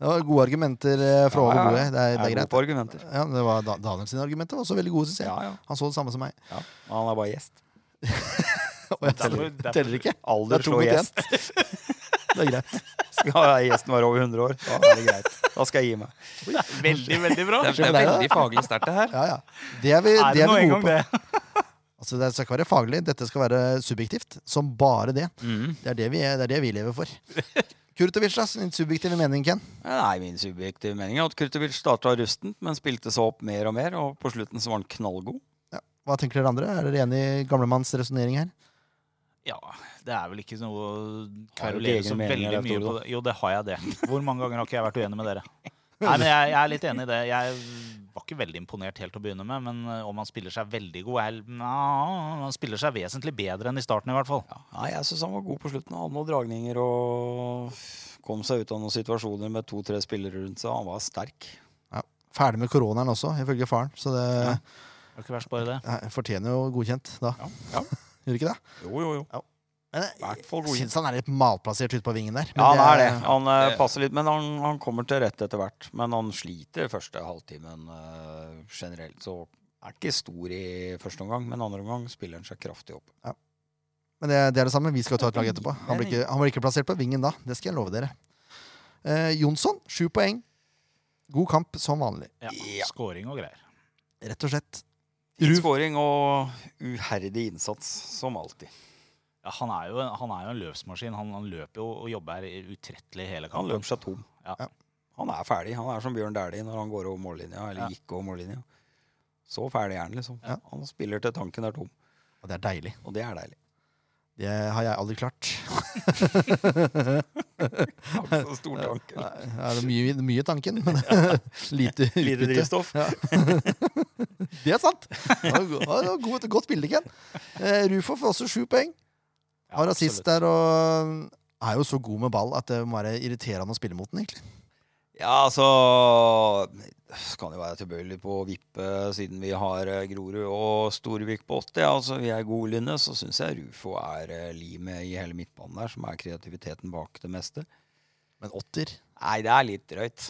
[SPEAKER 1] Det var gode argumenter eh, fra over
[SPEAKER 2] Ja, ja.
[SPEAKER 1] bordet. Det er, det er
[SPEAKER 2] Jeg er god
[SPEAKER 1] greit.
[SPEAKER 2] på argumenter.
[SPEAKER 1] Ja, det var da, Daniel sine argumenter var også veldig gode, synes jeg.
[SPEAKER 2] Ja, ja.
[SPEAKER 1] Han så det samme som meg.
[SPEAKER 2] ja. Han er bare gjest.
[SPEAKER 1] Og jeg teller,
[SPEAKER 3] Derfor- derfor-
[SPEAKER 1] teller ikke. Det
[SPEAKER 2] Alder
[SPEAKER 1] er to
[SPEAKER 2] slår
[SPEAKER 1] mot
[SPEAKER 2] gjest. *laughs*
[SPEAKER 1] *laughs* Det er greit.
[SPEAKER 2] Skal gjesten være over 100 år, da er det greit. Da skal jeg gi meg.
[SPEAKER 3] Veldig, veldig bra.
[SPEAKER 4] Det er, det er veldig faglig sterkt, det her.
[SPEAKER 1] Ja, ja. Det er vi,
[SPEAKER 3] Er
[SPEAKER 1] det
[SPEAKER 3] det
[SPEAKER 1] er
[SPEAKER 3] nå
[SPEAKER 1] vi
[SPEAKER 3] en
[SPEAKER 1] gode
[SPEAKER 3] gang
[SPEAKER 1] på.
[SPEAKER 3] det?
[SPEAKER 1] Altså, det skal ikke være faglig. Dette skal være subjektivt. Som bare det. Det er det vi, er, det er det vi lever for. Kurtovic, da. Sin subjektive mening, Ken.
[SPEAKER 2] Nei, min subjektive mening er at Kurtovic starta rustent, men spilte seg opp mer og mer, og på slutten så var han knallgod.
[SPEAKER 1] Hva tenker dere andre? Er dere enig i gamlemanns resonnering her?
[SPEAKER 3] Ja, det er vel ikke noe å
[SPEAKER 2] Har du
[SPEAKER 3] kverulere
[SPEAKER 2] egne
[SPEAKER 3] så
[SPEAKER 2] meninger,
[SPEAKER 3] veldig
[SPEAKER 2] Leif
[SPEAKER 3] mye
[SPEAKER 2] Tore,
[SPEAKER 3] på det. Jo, det har jeg det. Hvor mange ganger har ikke jeg vært uenig med
[SPEAKER 2] *laughs*
[SPEAKER 3] dere? Nei, men jeg, jeg er litt enig i det. Jeg var ikke veldig imponert helt til å begynne med, men eh, om han spiller seg veldig god jeg, nja, Han spiller seg vesentlig bedre enn i starten, i hvert fall.
[SPEAKER 2] Nei, jeg syns han var god på slutten. Han hadde noen dragninger og kom seg ut av noen situasjoner med to-tre spillere rundt seg. Han var sterk.
[SPEAKER 1] Ferdig med koronaen også, ifølge faren. Så det
[SPEAKER 3] Det er ikke verst bare det.
[SPEAKER 1] eh, fortjener jo godkjent, da.
[SPEAKER 2] Ja, ja.
[SPEAKER 1] *laughs* Gjør det ikke det?
[SPEAKER 2] Jo, jo, jo.
[SPEAKER 1] Men
[SPEAKER 2] I hvert
[SPEAKER 1] jeg
[SPEAKER 2] fall god
[SPEAKER 1] syns han er litt malplassert ute på vingen der. Men
[SPEAKER 2] Ja, han er det.
[SPEAKER 1] er-
[SPEAKER 2] Han eh,
[SPEAKER 4] det-
[SPEAKER 2] passer litt, men han, han kommer til rette etter hvert. Men han sliter første halvtimen eh, generelt, så er ikke stor i første omgang. Men andre omgang spiller han seg kraftig opp.
[SPEAKER 1] Men det, det er det samme. Vi skal jo ta et lag etterpå. Han blir ikke, han blir ikke plassert på vingen da. Det skal jeg love dere. Eh, Jonsson, sju poeng. God kamp som vanlig,
[SPEAKER 3] Ja.
[SPEAKER 2] Ja.
[SPEAKER 3] Scoring og greier.
[SPEAKER 1] rett og slett.
[SPEAKER 2] Fin
[SPEAKER 1] Ruf-
[SPEAKER 2] skåring og uherdig innsats, som alltid.
[SPEAKER 3] Ja, han, er jo, han er jo en løpsmaskin. Han, han løper jo og jobber utrettelig
[SPEAKER 2] Han
[SPEAKER 3] hele kampen.
[SPEAKER 2] løper seg tom.
[SPEAKER 3] Ja.
[SPEAKER 2] Han er ferdig. Han er som Bjørn Dæhlie når han går over mållinja, eller
[SPEAKER 3] Ja.
[SPEAKER 2] gikk over mållinja. Så fæl er han, liksom.
[SPEAKER 1] Ja.
[SPEAKER 2] Han spiller til tanken er tom.
[SPEAKER 1] Og det er deilig.
[SPEAKER 2] Og det er deilig.
[SPEAKER 1] Det har jeg aldri klart.
[SPEAKER 2] Han har så stor tanke.
[SPEAKER 1] Nei, Det er mye, mye tanken, men *laughs* lite
[SPEAKER 2] Lite
[SPEAKER 1] utbytte.
[SPEAKER 2] drivstoff.
[SPEAKER 1] Det er sant! Det var go- det var godt, godt bilde, Ken. Eh, Rufo får også sju poeng.
[SPEAKER 3] Ja,
[SPEAKER 1] Har assist der
[SPEAKER 3] absolutt.
[SPEAKER 1] og mm, er jo så god med ball at det må være irriterende å spille mot den, egentlig.
[SPEAKER 2] Ja, altså Så kan det være tilbøyelig på å vippe, siden vi har eh, Grorud og Storvik på 80. Altså, vi er gode linje, så syns jeg Rufo er eh, limet i hele midtbanen der, som er kreativiteten bak det meste.
[SPEAKER 1] Men åtter
[SPEAKER 2] Nei, det er litt drøyt.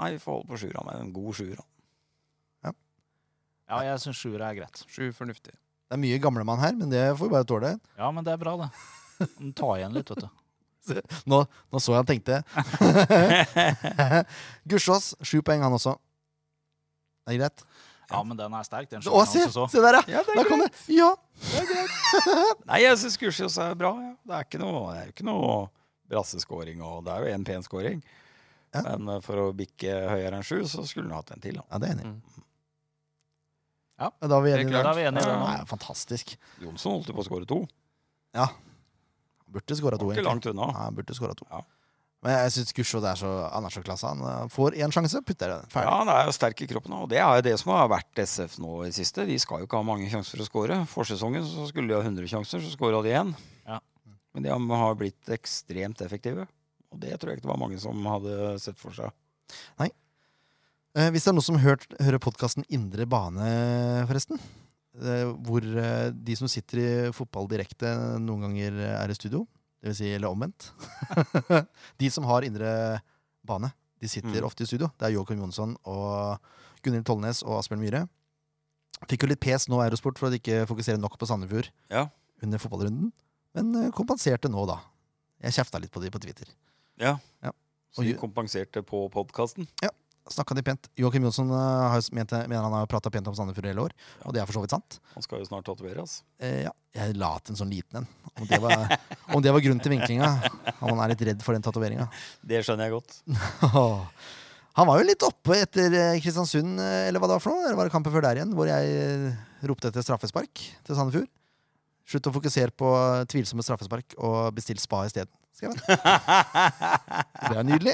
[SPEAKER 2] Nei, vi får holde på sjuer han er en god sjuer. han.
[SPEAKER 3] Ja, jeg syns sjuer er greit.
[SPEAKER 4] Sju fornuftig.
[SPEAKER 1] Det er mye gamlemann her, men det får vi bare tåle.
[SPEAKER 3] Ja, men det er bra, det. Den tar igjen litt, vet du.
[SPEAKER 1] Nå, nå så jeg han tenkte. Gussiås, sju poeng han også. Det er greit.
[SPEAKER 3] Ja, men den er sterk, den
[SPEAKER 1] Å,
[SPEAKER 3] sjueren
[SPEAKER 1] se!
[SPEAKER 3] altså så.
[SPEAKER 1] Se der, ja!
[SPEAKER 2] Ja, det
[SPEAKER 1] Der kom det! Ja!
[SPEAKER 2] Nei, jeg syns Kursios er bra. Ja. Det er ikke noe, det er jo ikke noe brasseskåring, og det er jo en pen skåring.
[SPEAKER 1] Ja.
[SPEAKER 2] Men eh, for å bikke høyere enn sju, så skulle han hatt en til. Da.
[SPEAKER 1] Ja, det er jeg enig. i.
[SPEAKER 4] Mm.
[SPEAKER 3] Ja.
[SPEAKER 1] Da er vi
[SPEAKER 4] Helt
[SPEAKER 1] enige
[SPEAKER 3] Da
[SPEAKER 1] der.
[SPEAKER 3] er vi enige. i
[SPEAKER 1] Det
[SPEAKER 3] den.
[SPEAKER 1] er jo fantastisk.
[SPEAKER 2] Jonsson holdt jo på å skåre to.
[SPEAKER 1] Burde skåra to,
[SPEAKER 2] Var ikke
[SPEAKER 1] egentlig.
[SPEAKER 2] langt unna.
[SPEAKER 1] Ja, han burde skåra to.
[SPEAKER 2] Ja.
[SPEAKER 1] Men jeg syns Gusjå er så, han er så klasse. Han eh, får én sjanse, putter jeg den.
[SPEAKER 2] Ja,
[SPEAKER 1] Ferdig.
[SPEAKER 2] han er jo sterk i kroppen, og det er jo det som har vært SF nå i det siste. De skal jo ikke ha mange sjanser for å skåre. Forsesongen så skulle de ha 100 sjanser, så skåra de én.
[SPEAKER 3] Ja.
[SPEAKER 2] Men de har blitt ekstremt effektive, og det tror jeg ikke det var mange som hadde sett for seg.
[SPEAKER 1] Eh, hvis det er noen som hørt, hører podkasten Indre bane, forresten, eh, hvor eh, de som sitter i fotball direkte, noen ganger eh, er i studio, det vil si, eller omvendt *laughs* De som har indre bane, de sitter
[SPEAKER 2] Mm.
[SPEAKER 1] ofte i studio. Det er Joakim Jonsson og Gunhild Tollnes og Asbjørn Myhre. Fikk jo litt pes nå, Eurosport, for at de ikke fokuserer nok på Sandefjord
[SPEAKER 2] Ja.
[SPEAKER 1] under fotballrunden, men eh, kompenserte nå, da. Jeg kjefta litt på de på Twitter.
[SPEAKER 2] Så de kompenserte på podkasten.
[SPEAKER 1] snakka de pent. Joakim Jonsson eh, har, jo s- ment, mener han har prata pent om Sandefjord i hele år, og det er for så vidt sant.
[SPEAKER 2] Han skal jo snart tatoveres.
[SPEAKER 1] Eh, ja, jeg la til en sånn liten en. Om det var, om det var grunnen til vinklinga. Om han er litt redd for den tatoveringa. *laughs*
[SPEAKER 2] Det skjønner jeg godt.
[SPEAKER 1] Han var jo litt oppe etter eh, Kristiansund, eh, eller hva det var for noe. Eller var det kampen før der igjen, hvor jeg eh, ropte etter straffespark til Sandefjord? Slutt å fokusere på tvilsomme straffespark, og bestill spa isteden. skrev han. Det er nydelig.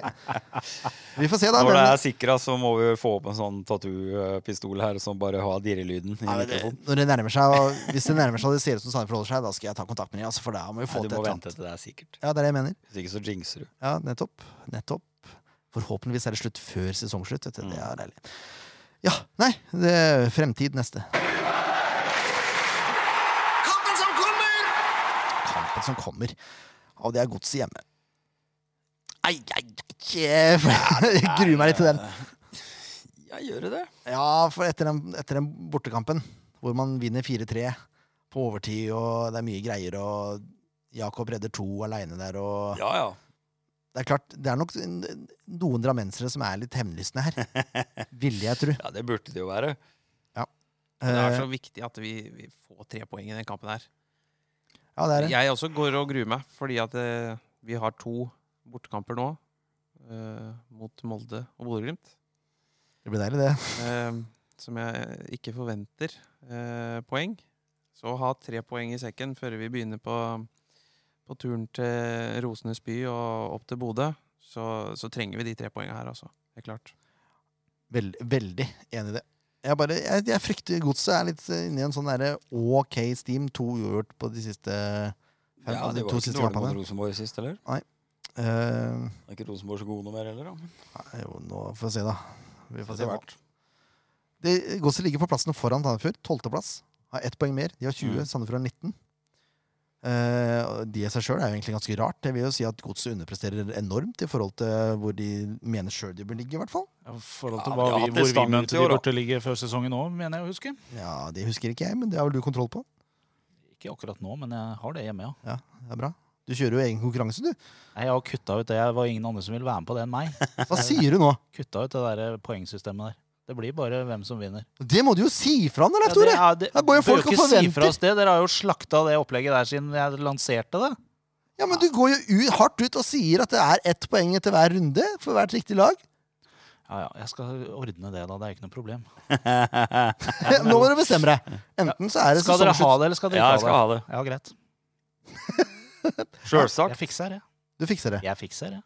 [SPEAKER 1] Vi får se, da.
[SPEAKER 2] Når det
[SPEAKER 1] hvem-
[SPEAKER 2] er sikra, så må vi få opp en sånn tattoo-pistol her som bare har dirrelyden i
[SPEAKER 1] Nei, men det,
[SPEAKER 2] mikrofonen.
[SPEAKER 1] når det nærmer seg, og hvis det nærmer seg og det ser ut som Sandefjord holder seg, da skal jeg ta kontakt med dem. Altså, for da må vi
[SPEAKER 2] Nei,
[SPEAKER 1] få
[SPEAKER 2] du
[SPEAKER 1] til et
[SPEAKER 2] må
[SPEAKER 1] eller
[SPEAKER 2] vente
[SPEAKER 1] annet.
[SPEAKER 2] til det er sikkert.
[SPEAKER 1] Ja, det er det jeg mener.
[SPEAKER 2] Hvis ikke så jinxer du.
[SPEAKER 1] Ja, nettopp. Nettopp. Forhåpentligvis er det slutt før sesongslutt. Vet du. Det
[SPEAKER 2] Mm.
[SPEAKER 1] er deilig. Ja, nei, det er fremtid neste.
[SPEAKER 5] Kampen som kommer!
[SPEAKER 1] Kampen som kommer. Og det er godset hjemme. Ai, ai, ai. Jeg *laughs* gruer meg litt til den.
[SPEAKER 2] Jeg gjør det.
[SPEAKER 1] Ja, for etter den, etter den bortekampen, hvor man vinner 4-3 på overtid, og det er mye greier, og Jakob redder to aleine der, og
[SPEAKER 2] Ja, ja.
[SPEAKER 1] Det er klart, det er nok n- noen drammensere som er litt hemmelystne
[SPEAKER 2] *laughs*
[SPEAKER 1] her. Ville jeg tro.
[SPEAKER 2] Ja, Det burde det jo være.
[SPEAKER 4] Det er
[SPEAKER 1] Eh,
[SPEAKER 4] så viktig at vi, vi får tre poeng i den kampen her.
[SPEAKER 1] Ja, det er det.
[SPEAKER 4] Jeg også går og gruer meg, fordi at eh, vi har to bortekamper nå. eh, mot Molde og Bodø-Glimt.
[SPEAKER 1] Det blir deilig, det.
[SPEAKER 4] eh, som jeg ikke forventer eh, poeng. Så ha tre poeng i sekken før vi begynner på, på turen til Rosenes by og opp til Bodø. Så, så trenger vi de tre poengene her, altså. Helt klart.
[SPEAKER 1] Vel, veldig enig i det. Jeg, bare, jeg, jeg frykter godset er litt eh, inne i en sånn derre OK steam. To uavgjort på de siste fem,
[SPEAKER 2] Ja,
[SPEAKER 1] altså
[SPEAKER 2] det
[SPEAKER 1] de
[SPEAKER 2] var
[SPEAKER 1] to
[SPEAKER 2] ikke
[SPEAKER 1] siste
[SPEAKER 2] dårlig mot
[SPEAKER 1] kampene.
[SPEAKER 2] Rosenborg sist, eller?
[SPEAKER 1] Eh,
[SPEAKER 2] Er ikke Rosenborg så gode noe mer heller, da?
[SPEAKER 1] nei, jo, nå får vi se, da. Vi får se
[SPEAKER 2] Etter
[SPEAKER 1] hva. *laughs*
[SPEAKER 2] hvert.
[SPEAKER 1] Det- Godset ligger på plassene foran Sandefjord. Tolvteplass. Har ett poeng mer. De har 20.
[SPEAKER 2] Mm.
[SPEAKER 1] Sandefjord har 19. Eh, og de i seg sjøl er jo egentlig ganske rart. Det vil jo si at Godset underpresterer enormt i forhold til eh, hvor de mener sjøl de bør ligge. i hvert fall
[SPEAKER 3] I forhold
[SPEAKER 2] Ja,
[SPEAKER 3] til
[SPEAKER 2] men
[SPEAKER 3] hva
[SPEAKER 2] de har
[SPEAKER 3] vi,
[SPEAKER 2] hatt
[SPEAKER 3] hvor
[SPEAKER 2] det
[SPEAKER 3] vi
[SPEAKER 2] stang ut i
[SPEAKER 3] mente
[SPEAKER 2] år,
[SPEAKER 3] de
[SPEAKER 2] da.
[SPEAKER 3] burde ligge før sesongen nå, mener jeg å huske.
[SPEAKER 1] Ja, Det husker ikke jeg, men det har vel du kontroll på.
[SPEAKER 3] Ikke akkurat nå, men jeg har det hjemme, ja.
[SPEAKER 1] Det er bra. Du kjører jo egen konkurranse, du.
[SPEAKER 3] Nei, Jeg har kutta ut det. Det var ingen andre som ville være med på det enn meg. *laughs*
[SPEAKER 1] Hva sier du nå?
[SPEAKER 3] Kutta ut det der eh, poengsystemet der. Det blir bare hvem som vinner.
[SPEAKER 1] Det må du jo si fra om, da,
[SPEAKER 3] Ja,
[SPEAKER 1] Leif Tore!
[SPEAKER 3] er- det,
[SPEAKER 1] Det er bare
[SPEAKER 3] du bør
[SPEAKER 1] folk
[SPEAKER 3] ikke
[SPEAKER 1] og
[SPEAKER 3] si fra
[SPEAKER 1] forventer.
[SPEAKER 3] oss det. Dere har jo slakta det opplegget der siden jeg lanserte det.
[SPEAKER 1] Ja, Men du går jo ut, hardt ut og sier at det er ett poeng etter hver runde for hvert riktig lag.
[SPEAKER 3] Ja, ja, jeg skal ordne det, da. Det er ikke noe problem.
[SPEAKER 1] Nå *laughs* må dere bestemme deg! Enten så er det
[SPEAKER 3] Skal dere ha
[SPEAKER 1] sesongslutt
[SPEAKER 3] det, eller skal dere
[SPEAKER 2] Ja, jeg
[SPEAKER 3] ikke
[SPEAKER 2] skal
[SPEAKER 3] ha det?
[SPEAKER 2] ha det.
[SPEAKER 3] Ja, greit.
[SPEAKER 2] Sjølsagt.
[SPEAKER 3] Jeg fikser det.
[SPEAKER 1] Du fikser det.
[SPEAKER 3] Jeg fikser det.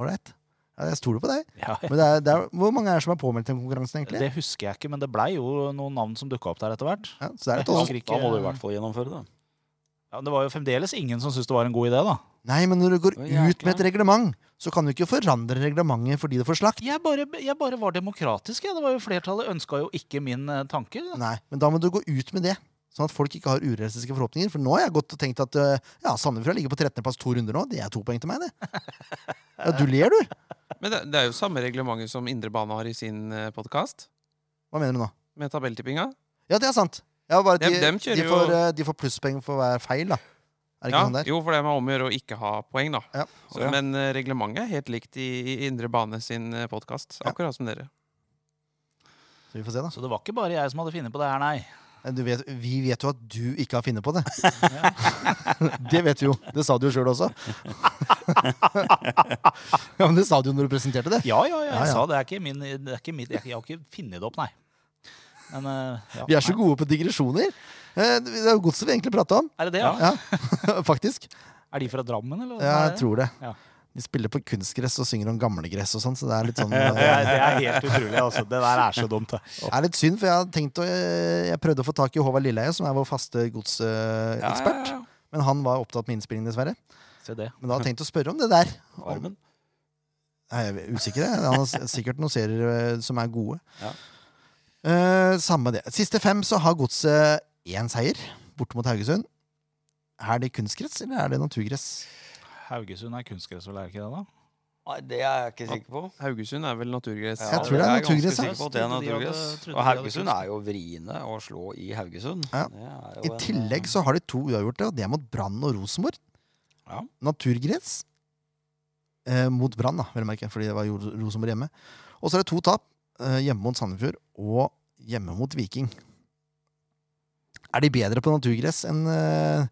[SPEAKER 1] Ålreit. Ja, jeg stoler på deg.
[SPEAKER 3] *laughs* Ja,
[SPEAKER 1] Men det er, det er, hvor mange er det som er påmeldt den konkurransen, egentlig?
[SPEAKER 3] det husker jeg ikke, men det blei jo noen navn som dukka opp der etter hvert.
[SPEAKER 1] Ja, så det er et
[SPEAKER 3] Jeg
[SPEAKER 1] også.
[SPEAKER 3] husker ikke-
[SPEAKER 2] Da må du i hvert fall gjennomføre det.
[SPEAKER 3] Ja, men det var jo fremdeles ingen som syntes det var en god idé, da.
[SPEAKER 1] Nei, men når du går
[SPEAKER 2] Å,
[SPEAKER 1] ut med et
[SPEAKER 2] jækla.
[SPEAKER 1] reglement, så kan du ikke forandre reglementet fordi det får slakt.
[SPEAKER 3] Jeg bare, jeg bare var demokratisk, jeg. Det var jo Flertallet ønska jo ikke min eh, tanke.
[SPEAKER 1] Nei, men da må du gå ut med det. Sånn at folk ikke har urealistiske forhåpninger. For nå har jeg gått og tenkt at øh, ja, Sandefjord ligger på 13. plass to runder nå. Det er to poeng til meg, det. Ja, du ler, du.
[SPEAKER 4] Men det, det er jo samme reglementet som Indre Bane har i sin podkast,
[SPEAKER 1] Hva mener du nå?
[SPEAKER 4] med tabelltippinga.
[SPEAKER 1] Ja, det er sant. Ja, bare at
[SPEAKER 4] Dem-
[SPEAKER 1] de,
[SPEAKER 4] dem
[SPEAKER 1] de,
[SPEAKER 4] kjører jo-
[SPEAKER 1] får, øh, de får plusspoeng for hver feil, da. Er det ikke
[SPEAKER 4] Ja,
[SPEAKER 1] sånn det er?
[SPEAKER 4] jo, for det er med om å gjøre å ikke ha poeng, da.
[SPEAKER 1] Ja.
[SPEAKER 4] Så,
[SPEAKER 2] Ja.
[SPEAKER 4] Men eh, reglementet er helt likt i, i Indre Bane sin podkast,
[SPEAKER 1] Ja.
[SPEAKER 4] akkurat som dere.
[SPEAKER 1] Så vi får se, da.
[SPEAKER 3] Så det var ikke bare jeg som hadde funnet på det her, nei.
[SPEAKER 1] Men Eh, Du vet, vi vet jo at du ikke har funnet på det. *laughs* det vet vi jo. Det sa du jo sjøl også. *laughs* ja, men det sa du jo når du presenterte det.
[SPEAKER 3] Ja, ja, ja. Jeg
[SPEAKER 1] Ja, ja.
[SPEAKER 3] sa det er ikke min det er ikke mitt- Jeg jeg har ikke funnet det opp, nei. Men, eh, ja,
[SPEAKER 1] Vi er så
[SPEAKER 3] nei.
[SPEAKER 1] gode på digresjoner. Eh, Det er jo godset vi egentlig prata om,
[SPEAKER 3] Er det det, ja?
[SPEAKER 2] Ja.
[SPEAKER 1] Ja. *laughs* faktisk.
[SPEAKER 3] Er de fra Drammen, eller? hva
[SPEAKER 1] Ja,
[SPEAKER 3] er
[SPEAKER 1] jeg
[SPEAKER 3] det?
[SPEAKER 1] tror det.
[SPEAKER 3] Ja.
[SPEAKER 1] De spiller på kunstgress og synger om gamlegress og sånn, så det er litt
[SPEAKER 3] *laughs*
[SPEAKER 1] sånn eh,
[SPEAKER 3] Det er, det er helt utrolig, altså. Det der er så dumt. det.
[SPEAKER 1] Det er litt synd, for jeg har tenkt å eh, Jeg prøvde å få tak i Håvard Lilleheie, som er vår faste godsekspert.
[SPEAKER 2] Ja, ja, ja.
[SPEAKER 1] Men han var opptatt med innspilling, dessverre.
[SPEAKER 3] Se det.
[SPEAKER 1] Men da har jeg tenkt å spørre om det der. Om-
[SPEAKER 2] Armen.
[SPEAKER 1] Nei, Jeg er usikker. jeg. Han har s- sikkert noen serier eh, som er gode.
[SPEAKER 2] Ja.
[SPEAKER 1] Eh, samme det. Siste fem så har godset én seier, borte mot Haugesund. Er det kunstgress, eller er det naturgress?
[SPEAKER 3] Haugesund er kunstgress, vel er det ikke det, da?
[SPEAKER 2] Nei, det er jeg ikke sikker på.
[SPEAKER 4] Haugesund er vel naturgress.
[SPEAKER 1] Jeg tror det er
[SPEAKER 2] jeg ganske
[SPEAKER 1] naturgress, ja.
[SPEAKER 2] sikker på at det er
[SPEAKER 3] Trodde de hadde-
[SPEAKER 2] naturgress. Og
[SPEAKER 3] trodde de hadde
[SPEAKER 2] Haugesund
[SPEAKER 3] kunst.
[SPEAKER 2] er jo vriene å slå i Haugesund.
[SPEAKER 1] Ja.
[SPEAKER 2] Det er jo
[SPEAKER 1] I
[SPEAKER 2] en,
[SPEAKER 1] tillegg så har de to uavgjorte, og det er mot Brann og Rosenborg.
[SPEAKER 2] Ja.
[SPEAKER 1] Naturgress eh, mot Brann, da, vel å merke, fordi det var jo Ros- Rosenborg hjemme. Og så er det to tap, eh, hjemme mot Sandefjord og hjemme mot Viking. Er de bedre på naturgress enn eh,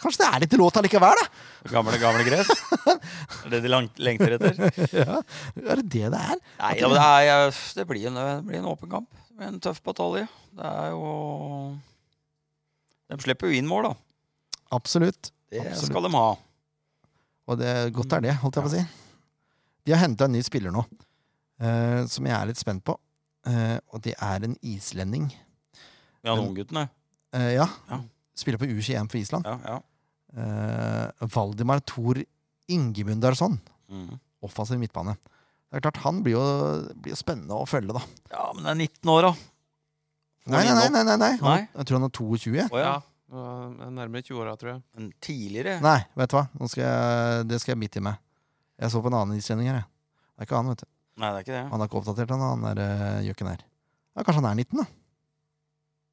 [SPEAKER 1] Kanskje det er litt låt allikevel, da!
[SPEAKER 2] Gamle, gamle *laughs* gress. Det er det de langt, lengter etter.
[SPEAKER 1] *laughs* ja. Er det det det er?
[SPEAKER 2] Nei, ja, men det, er, jeg- det, blir en, det blir en åpen kamp. Det blir En tøff batalje. Det er jo De slipper jo inn mål, da.
[SPEAKER 1] Absolutt.
[SPEAKER 2] Det
[SPEAKER 1] Absolutt.
[SPEAKER 2] skal de ha.
[SPEAKER 1] Og det, godt er det, holdt jeg på å si. De har henta en ny spiller nå, eh, som jeg er litt spent på. Eh, og det er en islending.
[SPEAKER 2] Ja, de ungguttene.
[SPEAKER 1] Eh, ja.
[SPEAKER 2] Ja.
[SPEAKER 1] Spiller på U21 for Island.
[SPEAKER 2] Ja, ja.
[SPEAKER 1] Eh, Valdimar Thor Ingemundarsson.
[SPEAKER 2] Mhm.
[SPEAKER 1] Offensiv midtbane. Det er klart, Han blir jo, blir jo spennende å følge, da.
[SPEAKER 2] ja, men det er 19 år, da.
[SPEAKER 1] Nei, nei, nei. nei, nei, nei.
[SPEAKER 2] Nei.
[SPEAKER 1] Han, jeg tror han er 22. jeg.
[SPEAKER 2] Å,
[SPEAKER 4] Ja,
[SPEAKER 2] ja.
[SPEAKER 4] og eh, Nærmere 20-åra, tror jeg.
[SPEAKER 2] Men tidligere
[SPEAKER 1] Nei, vet du hva. Nå skal jeg, det skal jeg bite i meg. Jeg så på en annen islending her. jeg. Det er ikke han, vet du.
[SPEAKER 2] Nei, det er ikke det.
[SPEAKER 1] Han er ikke oppdatert, han, han der eh, gjøken her. Ja, kanskje han er 19, da.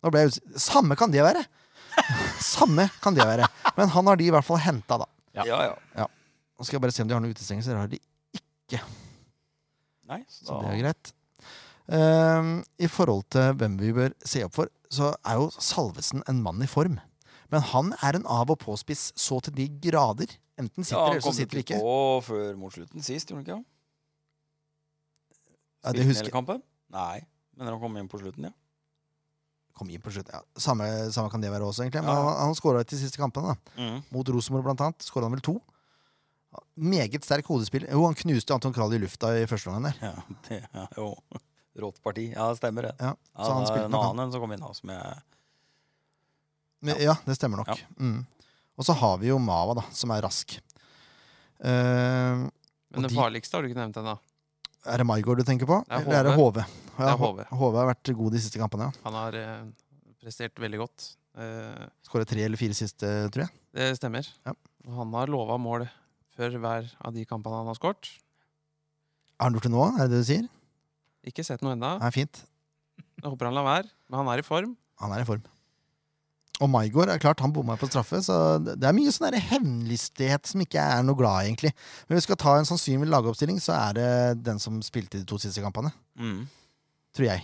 [SPEAKER 1] Da ble jeg usikker. Samme kan det være! *laughs* Samme kan det være. Men han har de i hvert fall henta, da.
[SPEAKER 3] Ja.
[SPEAKER 2] Ja, ja.
[SPEAKER 1] Nå skal jeg bare se om de har noen utestengelser. Det har de
[SPEAKER 2] Nei, så
[SPEAKER 1] Så det
[SPEAKER 2] da
[SPEAKER 1] er greit. Ehm, I forhold til hvem vi bør se opp for, så er jo Salvesen en mann i form. Men han er en av- og påspiss så til de grader. Enten sitter
[SPEAKER 2] ja, han
[SPEAKER 1] eller så
[SPEAKER 2] kom
[SPEAKER 1] sitter ikke.
[SPEAKER 2] på før mot slutten sist, gjorde han ikke?
[SPEAKER 1] Ja, det
[SPEAKER 2] Spilte han
[SPEAKER 1] husker
[SPEAKER 2] hele
[SPEAKER 1] jeg.
[SPEAKER 2] kampen? Nei, men han kom inn på slutten, ja.
[SPEAKER 1] Kom inn på slutt. Ja, samme, samme kan det være også, egentlig. Men
[SPEAKER 2] Ja.
[SPEAKER 1] han, han skåra til siste kampene, da.
[SPEAKER 2] Mm.
[SPEAKER 1] Mot Rosenborg, blant annet. Skåra han vel to. Meget sterk hodespill. Jo, han knuste Anton Krall i lufta i første omgang der.
[SPEAKER 2] Ja, det er jo *laughs* rått parti. Ja, det stemmer det.
[SPEAKER 1] Ja,
[SPEAKER 2] Ja,
[SPEAKER 1] så han
[SPEAKER 2] det er
[SPEAKER 1] spilte
[SPEAKER 2] en
[SPEAKER 1] nok han.
[SPEAKER 2] annen enn som kom inn da, som jeg
[SPEAKER 1] Men, ja. det stemmer nok.
[SPEAKER 2] Ja.
[SPEAKER 1] Mm. Og så har vi jo Mava, da, som er rask. Ehm, Og
[SPEAKER 4] Men det
[SPEAKER 1] de-
[SPEAKER 4] farligste har du ikke nevnt ennå.
[SPEAKER 1] Er det Maigard du tenker på?
[SPEAKER 4] Det er
[SPEAKER 1] Eller er det HV? Ja,
[SPEAKER 4] er HV.
[SPEAKER 1] HV har vært god de siste kampene. ja.
[SPEAKER 4] Han har eh, prestert veldig godt. Eh,
[SPEAKER 1] Skåret tre eller fire siste, tror jeg.
[SPEAKER 4] det stemmer.
[SPEAKER 1] Ja.
[SPEAKER 4] Og Han har lova mål før hver av de kampene han har skåret.
[SPEAKER 1] Har han gjort det nå? Er det det du sier?
[SPEAKER 4] Ikke sett noe ennå.
[SPEAKER 1] Nei, fint.
[SPEAKER 4] Jeg håper han lar være, men han er i form.
[SPEAKER 1] Han er i form. Og Maigard er klart, han bomma på straffe, så det det er mye sånn der hevnlystighet som ikke er noe glad i, egentlig. Men hvis vi skal ta en sannsynlig lagoppstilling, så er det den som spilte de to siste kampene.
[SPEAKER 2] Mm.
[SPEAKER 1] tror jeg.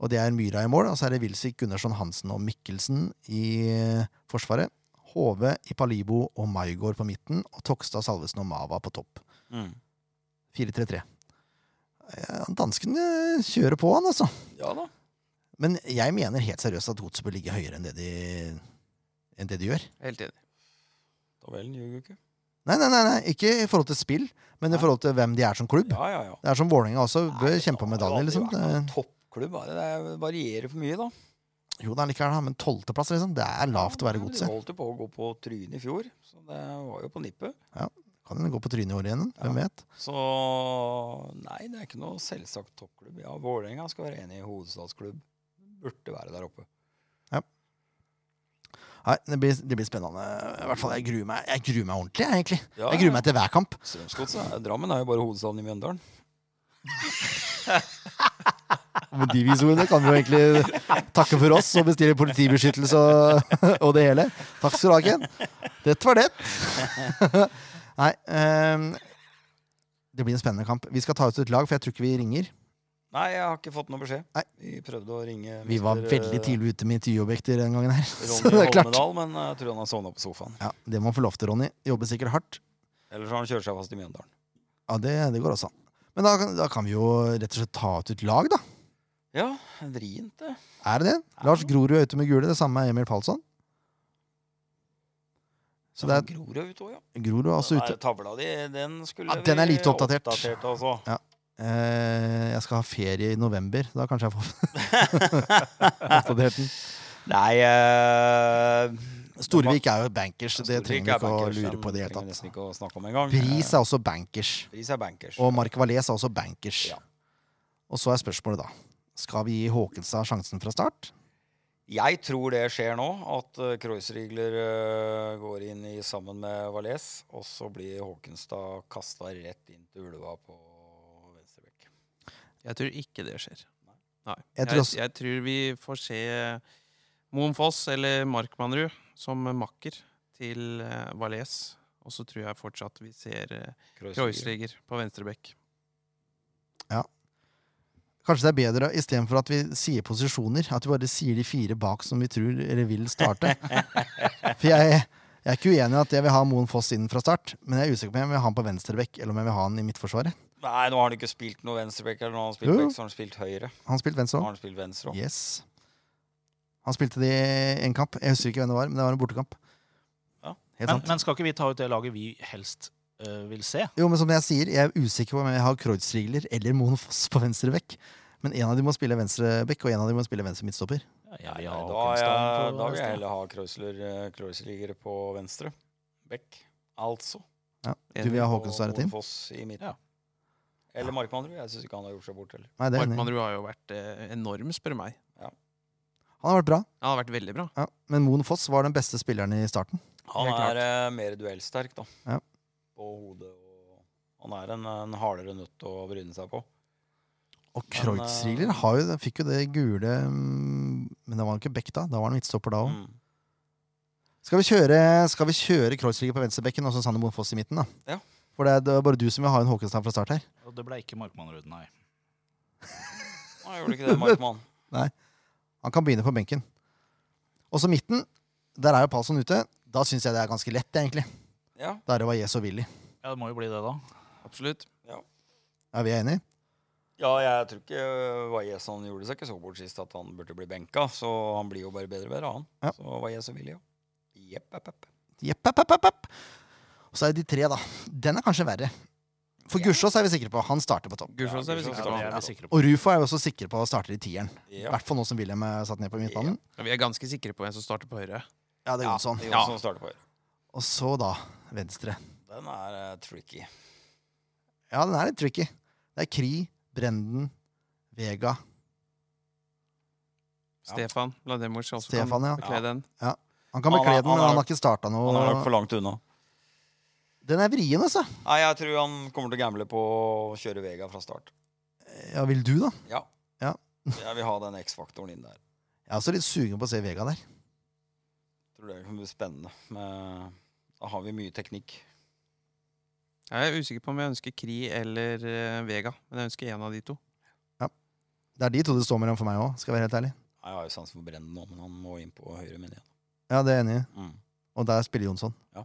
[SPEAKER 1] Og det er Myra i mål, og så er det Wilsvik, Gunnarsson, Hansen og Mikkelsen i eh, forsvaret. Hove, Ipalibo og Maigård på midten, og Tokstad, Salvesen og Mava på topp.
[SPEAKER 2] Mm.
[SPEAKER 1] 4-3-3. Ja, Dansken eh, kjører på han, altså.
[SPEAKER 2] Ja da.
[SPEAKER 1] Men jeg mener helt seriøst at godset bør ligge høyere enn det de, enn det de gjør.
[SPEAKER 4] Helt enig.
[SPEAKER 2] Tabellen ljuger jo ikke.
[SPEAKER 1] Nei, nei, nei, nei, ikke i forhold til spill, men i forhold til hvem de er som klubb.
[SPEAKER 2] Ja, ja, ja.
[SPEAKER 1] Det er som Vålerenga også. Bør
[SPEAKER 2] Nei,
[SPEAKER 1] kjempe om
[SPEAKER 2] det har
[SPEAKER 1] medalje,
[SPEAKER 2] aldri
[SPEAKER 1] liksom.
[SPEAKER 2] vært
[SPEAKER 1] Det,
[SPEAKER 2] noen Toppklubb. da. Det er- varierer for mye, da.
[SPEAKER 1] Eh, jo, det er likevel, da, men tolvteplass, liksom. Det er lavt å være
[SPEAKER 2] De
[SPEAKER 1] godset.
[SPEAKER 2] holdt jo på å gå på trynet i fjor, så det var jo på nippet.
[SPEAKER 1] Kan den gå på trynet i år igjen? Hvem
[SPEAKER 2] Ja.
[SPEAKER 1] vet?
[SPEAKER 2] Så nei, det er ikke noe selvsagt toppklubb. Ja, Vålerenga skal være enig i hovedstadsklubb. Burde være der oppe.
[SPEAKER 1] Nei, det blir, det blir spennende. I hvert fall, jeg gruer meg, jeg gruer meg ordentlig, jeg, egentlig.
[SPEAKER 2] Ja,
[SPEAKER 1] Jeg gruer meg til hver kamp.
[SPEAKER 2] Strømsgodset. Drammen er jo bare hovedstaden i Mjøndalen.
[SPEAKER 1] Med de visordene kan vi jo egentlig takke for oss og bestille politibeskyttelse og, og det hele. Takk skal du ha, Ken. Dette var det. Nei ehm, Det blir en spennende kamp. Vi skal ta ut et lag, for jeg tror ikke vi ringer.
[SPEAKER 2] Nei, jeg har ikke fått noe beskjed.
[SPEAKER 1] Nei.
[SPEAKER 2] Vi prøvde å ringe
[SPEAKER 1] Vi var
[SPEAKER 2] mister,
[SPEAKER 1] veldig
[SPEAKER 2] eh,
[SPEAKER 1] tidlig ute med intervjuobjekter den gangen her. *laughs* Så det
[SPEAKER 2] Ronny
[SPEAKER 1] er klart.
[SPEAKER 2] Holmedal, men eh, jeg tror han har sovna på sofaen.
[SPEAKER 1] Ja, det må han få lov til, Ronny. Jobber sikkert hardt.
[SPEAKER 2] Eller så har han kjørt seg fast i Mjøndalen.
[SPEAKER 1] Ja, det, det går også an. Men da, kan- da kan vi jo rett og slett ta ut et lag, da.
[SPEAKER 2] Ja, vrient, det.
[SPEAKER 1] Er det det? Lars Grorud er ute med gule. Det samme er Emil Falsson. Så det er
[SPEAKER 2] gror jo ut òg, ja.
[SPEAKER 1] Grorud er altså
[SPEAKER 2] Den
[SPEAKER 1] ute.
[SPEAKER 2] der Tavla di, den skulle
[SPEAKER 1] Ja, den er lite oppdatert.
[SPEAKER 2] oppdatert altså.
[SPEAKER 1] Eh, jeg skal ha ferie i november. Da kanskje jeg får
[SPEAKER 2] *laughs*
[SPEAKER 1] oppdatert den.
[SPEAKER 2] Nei eh,
[SPEAKER 1] Storvik er jo bankers, så det
[SPEAKER 2] Storvik
[SPEAKER 1] trenger vi
[SPEAKER 2] er
[SPEAKER 1] ikke å
[SPEAKER 2] bankers,
[SPEAKER 1] lure
[SPEAKER 2] den
[SPEAKER 1] på i det hele
[SPEAKER 2] trenger vi
[SPEAKER 1] tatt.
[SPEAKER 2] nesten ikke å snakke om engang.
[SPEAKER 1] Bris er også bankers.
[SPEAKER 2] Eh, Bris er bankers.
[SPEAKER 1] Og Mark Valais er også bankers.
[SPEAKER 2] Ja.
[SPEAKER 1] Og så er spørsmålet, da. Skal vi gi Håkenstad sjansen fra start?
[SPEAKER 2] Jeg tror det skjer nå, at uh, Kreuzrigler eh, går inn i sammen med Valais, og så blir Håkenstad kasta rett inn til Ulva på venstrebekk.
[SPEAKER 4] Jeg tror ikke det skjer. Nei.
[SPEAKER 1] Jeg
[SPEAKER 4] Jeg,
[SPEAKER 1] tror
[SPEAKER 4] jeg,
[SPEAKER 1] også-
[SPEAKER 4] tror vi får se eh, Moen Foss eller Markmannrud som makker til eh, Valais. Og så tror jeg fortsatt vi ser eh,
[SPEAKER 2] Kreuzrigler.
[SPEAKER 4] Kreuzliger på venstrebekk.
[SPEAKER 1] Kanskje det er bedre istedenfor at vi sier posisjoner, at vi bare sier de fire bak som vi tror eller vil
[SPEAKER 2] *laughs*
[SPEAKER 1] starte. For jeg, jeg er ikke uenig i at jeg vil ha Moen Foss inn fra start, men jeg er usikker på om jeg vil ha han på venstrebekk eller om jeg vil ha han i midtforsvaret.
[SPEAKER 2] Nei, nå har han ikke spilt noe venstrebekk, eller nå har han spilt
[SPEAKER 1] Jo.
[SPEAKER 2] bekk, så har han spilt høyre.
[SPEAKER 1] Han spilte venstre
[SPEAKER 2] Nå
[SPEAKER 1] òg.
[SPEAKER 2] har han spilt venstre også.
[SPEAKER 1] Yes. Han spilte det i en kamp. Jeg husker ikke hvem det var, men det var en bortekamp.
[SPEAKER 2] Ja.
[SPEAKER 1] Helt
[SPEAKER 3] Men,
[SPEAKER 1] sant.
[SPEAKER 3] men skal ikke vi ta ut det laget vi helst øh, vil se?
[SPEAKER 1] Jo, men som jeg sier, jeg er usikker på om jeg har Kreuzrigler eller Moen Foss på venstre bekk. Men en av dem må spille venstre bekk, og en av dem må spille venstre midtstopper.
[SPEAKER 3] Ja, jeg vil ha
[SPEAKER 2] Nei, da, er
[SPEAKER 3] Håkenstad
[SPEAKER 2] jeg,
[SPEAKER 3] på
[SPEAKER 2] da vil jeg
[SPEAKER 3] venstre.
[SPEAKER 2] heller ha Kreuzler, eh, Kreuzliger på venstre. Bekk. Altså.
[SPEAKER 1] Ja. Du vil ha
[SPEAKER 2] Og
[SPEAKER 1] Håkenstad rett inn?
[SPEAKER 2] Foss i midten.
[SPEAKER 3] Ja.
[SPEAKER 2] Eller Markmannrud. Jeg syns ikke han har gjort seg bort heller.
[SPEAKER 1] Nei, det er jeg enig i.
[SPEAKER 4] Markmannrud har jo vært eh, enorm, spør du meg.
[SPEAKER 1] Han har vært bra,
[SPEAKER 4] Han har vært veldig bra.
[SPEAKER 1] ja. men Moen Foss var den beste spilleren i starten.
[SPEAKER 2] Han
[SPEAKER 4] Helt
[SPEAKER 2] er eh, mer duellsterk, da.
[SPEAKER 1] Ja.
[SPEAKER 2] På hodet og Han er en, en hardere nøtt å bryne seg på.
[SPEAKER 1] Og
[SPEAKER 2] Men,
[SPEAKER 1] Kreuzrigler
[SPEAKER 2] eh,
[SPEAKER 1] har jo, fikk jo det gule mm, Men da var han ikke bekk, da. Da var han midtstopper, da òg.
[SPEAKER 2] Mm.
[SPEAKER 1] Skal vi kjøre, skal vi kjøre Kreuzrigler på venstrebekken og så Sander Moen Foss i midten, da?
[SPEAKER 2] Ja.
[SPEAKER 1] For det er, det er bare du som vil ha en Håkenstad fra start her.
[SPEAKER 3] Og Det ble ikke Markmannrud, nei.
[SPEAKER 2] Han gjorde ikke det, Markmann.
[SPEAKER 1] *laughs* Han kan begynne på benken. Og så midten. Der er jo Palsson ute. Da syns jeg det er ganske lett, egentlig.
[SPEAKER 2] Ja.
[SPEAKER 1] Da er det Valles og Willy.
[SPEAKER 3] Ja, Det må jo bli det, da.
[SPEAKER 4] Absolutt.
[SPEAKER 1] Er vi enige?
[SPEAKER 2] ja, jeg tror ikke Valles han gjorde seg ikke så bort sist at han burde bli benka. Så han blir jo bare bedre og bedre, han.
[SPEAKER 1] Ja.
[SPEAKER 2] Så Valles og Willy, ja. Jepp, jepp, jepp.
[SPEAKER 1] Jepp, jepp, jepp, jepp. Og så er det de tre, da. Den er kanskje verre. For
[SPEAKER 2] Ja.
[SPEAKER 1] Gussiås er vi sikre på. Han starter på topp.
[SPEAKER 4] Gursås er vi
[SPEAKER 2] Gursås
[SPEAKER 3] Ja, det
[SPEAKER 4] sikre på.
[SPEAKER 3] er vi sikre på.
[SPEAKER 1] Og Rufo er vi også sikre på å starte i tieren. I
[SPEAKER 2] Ja.
[SPEAKER 1] hvert fall nå som Wilhelm er satt ned på midtbanen.
[SPEAKER 4] Ja, Vi er ganske sikre på hvem som starter på høyre.
[SPEAKER 1] Ja, det går sånn.
[SPEAKER 2] Det er
[SPEAKER 4] Ja.
[SPEAKER 2] Jonsson starter på høyre.
[SPEAKER 1] Og så, da, venstre.
[SPEAKER 2] Den er eh, tricky.
[SPEAKER 1] Ja, den er litt tricky. Det er Kri, Brenden, Vega
[SPEAKER 2] Ja.
[SPEAKER 4] Stefan Vladimir skal også
[SPEAKER 1] Stefan, ja.
[SPEAKER 4] kan bekle den.
[SPEAKER 1] Han kan
[SPEAKER 2] Han er-
[SPEAKER 1] bekle den,
[SPEAKER 2] han
[SPEAKER 1] men
[SPEAKER 2] er-
[SPEAKER 1] han har ikke starta
[SPEAKER 2] Han er nok
[SPEAKER 1] noe.
[SPEAKER 2] for langt unna.
[SPEAKER 1] Den er vrien, altså.
[SPEAKER 2] Nei, jeg tror han kommer til å gamble på å kjøre Vega fra
[SPEAKER 1] *laughs*
[SPEAKER 2] start.
[SPEAKER 1] Ja, vil du, da?
[SPEAKER 2] Ja.
[SPEAKER 1] Ja.
[SPEAKER 2] Jeg vil ha den X-faktoren inn der.
[SPEAKER 1] Jeg er også litt sugen på å se Vega der.
[SPEAKER 2] Tror det kan bli spennende. Men da har vi mye teknikk.
[SPEAKER 4] Jeg er usikker på om jeg ønsker Kri eller eh, Vega, men jeg ønsker en av de to.
[SPEAKER 1] Det er de to det står mellom for meg òg, skal jeg være helt ærlig.
[SPEAKER 2] Nei, Jeg har jo sansen for Brenden nå, men han må inn på høyre min igjen.
[SPEAKER 1] Ja, det er jeg enig i.
[SPEAKER 2] Mm.
[SPEAKER 1] Og der spiller Jonsson.
[SPEAKER 2] Ja.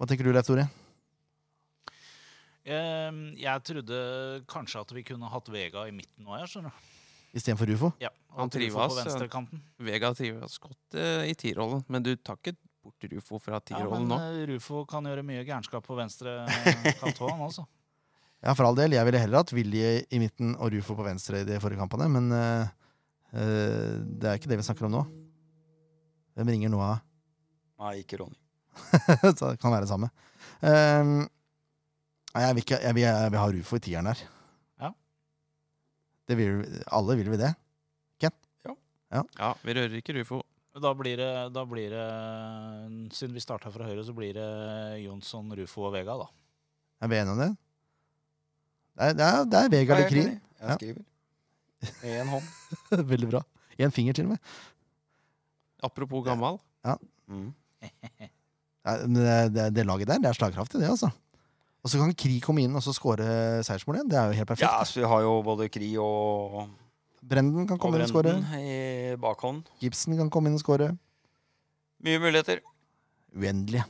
[SPEAKER 1] Hva tenker du, Leif Tore?
[SPEAKER 3] Eh, Jeg trodde kanskje at vi kunne hatt Vega i midten nå, jeg skjønner. du.
[SPEAKER 1] Istedenfor Rufo.
[SPEAKER 3] Ja,
[SPEAKER 4] Han
[SPEAKER 3] at Rufo
[SPEAKER 4] trives,
[SPEAKER 3] På
[SPEAKER 4] ja.
[SPEAKER 3] venstrekanten.
[SPEAKER 4] Vega trives godt eh, i T-rollen, men du tar ikke bort Rufo fra
[SPEAKER 3] Ja,
[SPEAKER 4] T-rollen
[SPEAKER 3] men
[SPEAKER 4] nå.
[SPEAKER 3] eh, Rufo kan gjøre mye gærenskap på venstre eh, kant òg, han
[SPEAKER 4] *laughs*
[SPEAKER 3] altså.
[SPEAKER 1] Ja, for all del. Jeg ville heller hatt Willy i midten og Rufo på venstre i de forrige kampene, men eh, eh, det er ikke det vi snakker om nå. Hvem ringer nå, da? *laughs*
[SPEAKER 2] Nei, ikke Ronny.
[SPEAKER 1] Så det kan være det samme. Ehm, nei, jeg vil, ikke, jeg, vil, jeg vil ha Rufo i tieren her.
[SPEAKER 3] Ja.
[SPEAKER 1] Det vil, alle vil vi det.
[SPEAKER 4] Ja, vi rører ikke Rufo.
[SPEAKER 3] Da blir det, da blir det Siden vi starta fra høyre, så blir det Jonsson, Rufo og Vega, da.
[SPEAKER 1] Er vi enige om det? Det er, det er, det er Vegard
[SPEAKER 2] Nei,
[SPEAKER 1] i
[SPEAKER 2] jeg er
[SPEAKER 1] krig.
[SPEAKER 2] enig. Jeg skriver. Med én hånd.
[SPEAKER 1] *laughs* Veldig bra. Én finger, til og med.
[SPEAKER 4] Apropos gammal.
[SPEAKER 2] Mm.
[SPEAKER 1] Nei, men Det, det, det laget der det er slagkraftig, det, altså. Og så kan Kri komme inn og så skåre seiersmål igjen. Det er jo helt perfekt.
[SPEAKER 2] Ja, så vi har jo både Kri og,
[SPEAKER 1] Brenden kan
[SPEAKER 2] og
[SPEAKER 1] komme inn og skåre.
[SPEAKER 2] Brenden i bakhånd.
[SPEAKER 1] Gibson kan komme inn og skåre.
[SPEAKER 2] Mye muligheter.
[SPEAKER 1] Uendelige.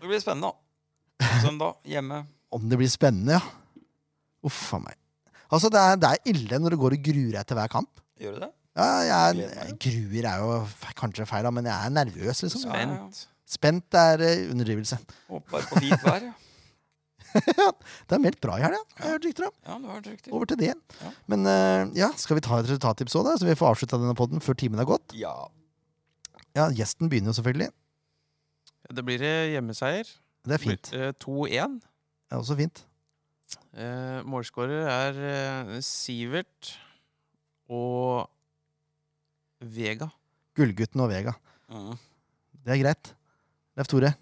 [SPEAKER 2] Det blir spennende, da. Søndag hjemme.
[SPEAKER 1] Om det blir spennende, ja. Uff a meg. Altså, det er, det er ille når du går og gruer deg til hver kamp.
[SPEAKER 2] Gjør du det?
[SPEAKER 1] Ja, jeg,
[SPEAKER 2] Gleder
[SPEAKER 1] er-
[SPEAKER 2] meg,
[SPEAKER 1] gruer er jo f- kanskje feil, da, men jeg er nervøs, liksom.
[SPEAKER 2] Ja, ja, ja.
[SPEAKER 4] Spent.
[SPEAKER 1] Spent er eh, underdrivelse.
[SPEAKER 2] Håper bare på fint vær. ja.
[SPEAKER 1] Det er meldt bra i helga, har jeg hørt rykter om.
[SPEAKER 2] Ja, du har trykt det.
[SPEAKER 1] Over til det.
[SPEAKER 2] Ja.
[SPEAKER 1] Men eh, ja, skal vi ta et resultattips òg, da? Så vi får avslutta denne poden før timen er gått?
[SPEAKER 2] Ja.
[SPEAKER 1] Ja, gjesten begynner jo selvfølgelig.
[SPEAKER 4] Det blir eh, hjemmeseier.
[SPEAKER 1] Det er fint.
[SPEAKER 4] Eh, 2-1.
[SPEAKER 1] Det er også fint.
[SPEAKER 4] Eh, målskårer er eh, Sivert og Vega.
[SPEAKER 1] Gullgutten og Vega.
[SPEAKER 2] Mm.
[SPEAKER 1] Det er greit. Leif Tore.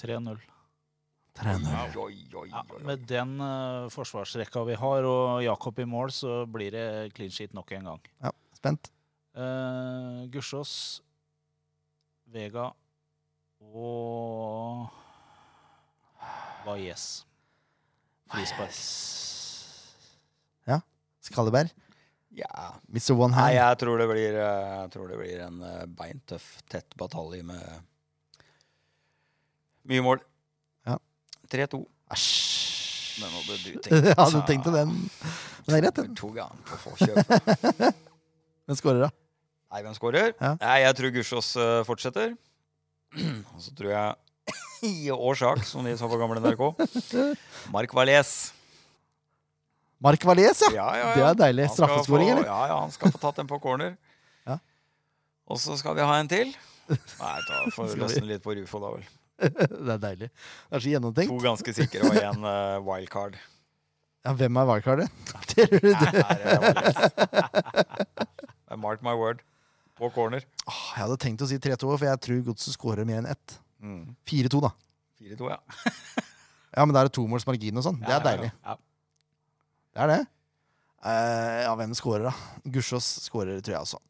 [SPEAKER 3] 3-0.
[SPEAKER 1] Trener.
[SPEAKER 2] Oi, oi, oi,
[SPEAKER 3] Ja,
[SPEAKER 2] oi.
[SPEAKER 3] med den eh, forsvarsrekka vi har, og Jakob i mål, så blir det clean sheet nok en gang.
[SPEAKER 1] Spent.
[SPEAKER 3] Uh, Gussiås, Vega og Valles. Frispark.
[SPEAKER 1] Skalleberg.
[SPEAKER 2] Ja.
[SPEAKER 1] Mr. One
[SPEAKER 2] Nei,
[SPEAKER 1] Hand.
[SPEAKER 2] jeg tror det blir, eh, jeg tror det blir en eh, beintøff, tett batalje med mye mål.
[SPEAKER 1] Ja.
[SPEAKER 2] 3-2.
[SPEAKER 1] Æsj.
[SPEAKER 2] Den hadde du
[SPEAKER 1] *laughs*
[SPEAKER 2] tenkt.
[SPEAKER 1] Ja, du tenkte den. Men det er greit, den.
[SPEAKER 2] To ganger på forkjøpet.
[SPEAKER 1] Den skårer, da.
[SPEAKER 2] Nei, hvem skårer?
[SPEAKER 1] Ja.
[SPEAKER 2] Nei, jeg tror Gussiås eh, fortsetter. *clears throat* Og så tror jeg *clears throat* i årsak, som de sa på gamle
[SPEAKER 1] *laughs*
[SPEAKER 2] NRK, Mark Valles.
[SPEAKER 1] Mark Valles, ja.
[SPEAKER 2] Ja, ja,
[SPEAKER 1] Det
[SPEAKER 2] ja.
[SPEAKER 1] er deilig.
[SPEAKER 2] Han skal
[SPEAKER 1] Straffeskoring,
[SPEAKER 2] få-
[SPEAKER 1] eller? *laughs*
[SPEAKER 2] Ja, ja, han skal få tatt den på corner.
[SPEAKER 1] Ja.
[SPEAKER 2] Og så skal vi ha en til. Nei, da får vi
[SPEAKER 1] Skal vi-
[SPEAKER 2] løsne litt på Rufo, da vel.
[SPEAKER 1] det er deilig. Det er så
[SPEAKER 2] To
[SPEAKER 1] gjennomtenkt.
[SPEAKER 2] ganske sikre og én eh, wildcard.
[SPEAKER 1] Ja, hvem er wildcardet? *laughs* Det er *laughs*
[SPEAKER 2] Nei,
[SPEAKER 1] det.
[SPEAKER 2] her er Valles. Mark my word. På corner.
[SPEAKER 1] Åh, Jeg hadde tenkt å si 3-2, for jeg tror Godset skårer mer enn ett.
[SPEAKER 2] Mm.
[SPEAKER 1] 4-2, da.
[SPEAKER 2] 4-2, ja.
[SPEAKER 1] Ja, men da er det tomålsmargin og sånn. Det
[SPEAKER 3] Ja,
[SPEAKER 1] er deilig.
[SPEAKER 3] Ja, ja.
[SPEAKER 1] Det er det. Eh, ja, hvem skårer, da? Gussiås skårer, tror jeg også.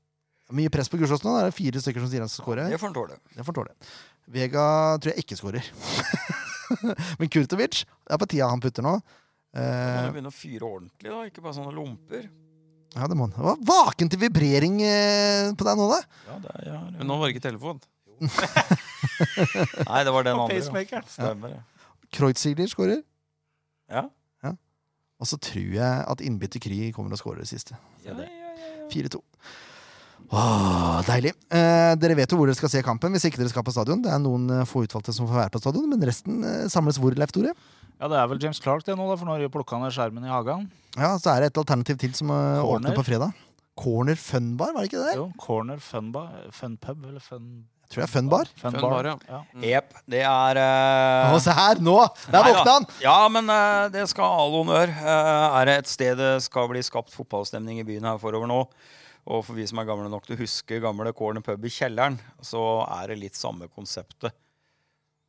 [SPEAKER 1] Mye press på Gussiås nå. Da er det fire stykker som sier han skal skåre.
[SPEAKER 2] Det får han tåle.
[SPEAKER 1] Det får tåle. Vega tror jeg ikke skårer. *laughs* men Kurtovic det er på tida han putter nå.
[SPEAKER 2] Da må
[SPEAKER 1] Eh,
[SPEAKER 2] du begynne å fyre ordentlig, da. Ikke bare sånne lomper.
[SPEAKER 1] ja, det må han. Det var Vaken til vibrering eh, på deg nå, da!
[SPEAKER 2] Ja, det er, ja, det
[SPEAKER 4] Men nå var det ikke telefon.
[SPEAKER 2] Nei, det var den
[SPEAKER 3] Og
[SPEAKER 2] andre. ja.
[SPEAKER 3] pacemakeren.
[SPEAKER 2] Stemmer det.
[SPEAKER 1] Kreuzigler skårer.
[SPEAKER 2] Ja.
[SPEAKER 1] Og så tror jeg at innbytter Kry kommer og scorer det siste.
[SPEAKER 2] Ja, ja, ja, ja.
[SPEAKER 1] 4-2. Åh, deilig. Eh, dere vet jo hvor dere skal se kampen hvis ikke dere skal på stadion. Det er noen eh, få utvalgte som får være på stadion, men resten eh, samles hvor, Leif Tore?
[SPEAKER 3] Ja, det er vel James Clark det nå, da, for nå har de jo plukka ned skjermen i hagen.
[SPEAKER 1] Ja, så er det et alternativ til som eh,
[SPEAKER 3] Corner.
[SPEAKER 1] åpner på fredag. Corner Funbar, var det ikke det der?
[SPEAKER 3] Jo, Corner Funbar Funpub, eller Fun...
[SPEAKER 1] Jeg tror det er Funbar.
[SPEAKER 4] Funbar, ja.
[SPEAKER 3] ja.
[SPEAKER 2] Jep, det er eh,
[SPEAKER 1] Å, se her, nå! Der
[SPEAKER 2] Nei da.
[SPEAKER 1] våkna han!
[SPEAKER 2] Ja, men eh, det skal ha all honnør. Eh, er det et sted det skal bli skapt fotballstemning i byen her forover nå, og for vi som er gamle nok til å huske gamle Corner pub i kjelleren, så er det litt samme konseptet.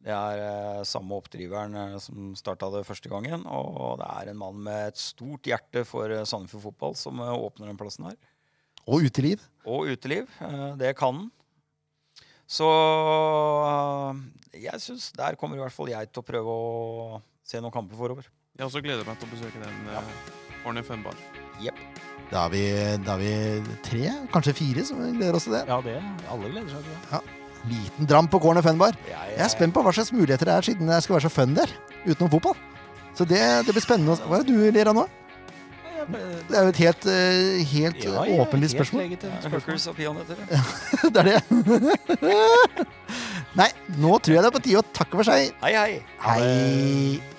[SPEAKER 2] Det er eh, samme oppdriveren eh, som starta det første gangen, og det er en mann med et stort hjerte for eh, Sandefjord fotball som eh, åpner den plassen her
[SPEAKER 1] Og uteliv.
[SPEAKER 2] og uteliv. eh, Det kan den. Så eh, jeg syns der kommer i hvert fall jeg til å prøve å se noen kamper forover.
[SPEAKER 4] Jeg også gleder meg til å besøke den eh, Orne Funbar.
[SPEAKER 1] Da er, vi, da er vi tre, kanskje fire, som gleder oss til det.
[SPEAKER 3] ja, det Alle gleder seg til det.
[SPEAKER 1] Liten dram på Corner Funbar.
[SPEAKER 2] Jeg,
[SPEAKER 1] Jeg er spent på hva slags muligheter det er, siden det skal være så fun der. Utenom fotball. Så det, det blir spennende. å se. Hva er det du ler av nå? Det er jo et helt, eh, helt
[SPEAKER 3] Ja,
[SPEAKER 1] eh,
[SPEAKER 3] ja,
[SPEAKER 1] åpenlyst
[SPEAKER 3] helt
[SPEAKER 1] spørsmål.
[SPEAKER 3] legitimt spørsmål.
[SPEAKER 2] Hookers og peanøtter.
[SPEAKER 1] *laughs* det er det. *laughs* Nei, nå tror jeg det er på tide å takke for seg.
[SPEAKER 2] Hei, hei.
[SPEAKER 1] Hei.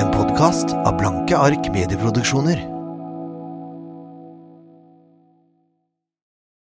[SPEAKER 1] En podkast av Blanke ark medieproduksjoner.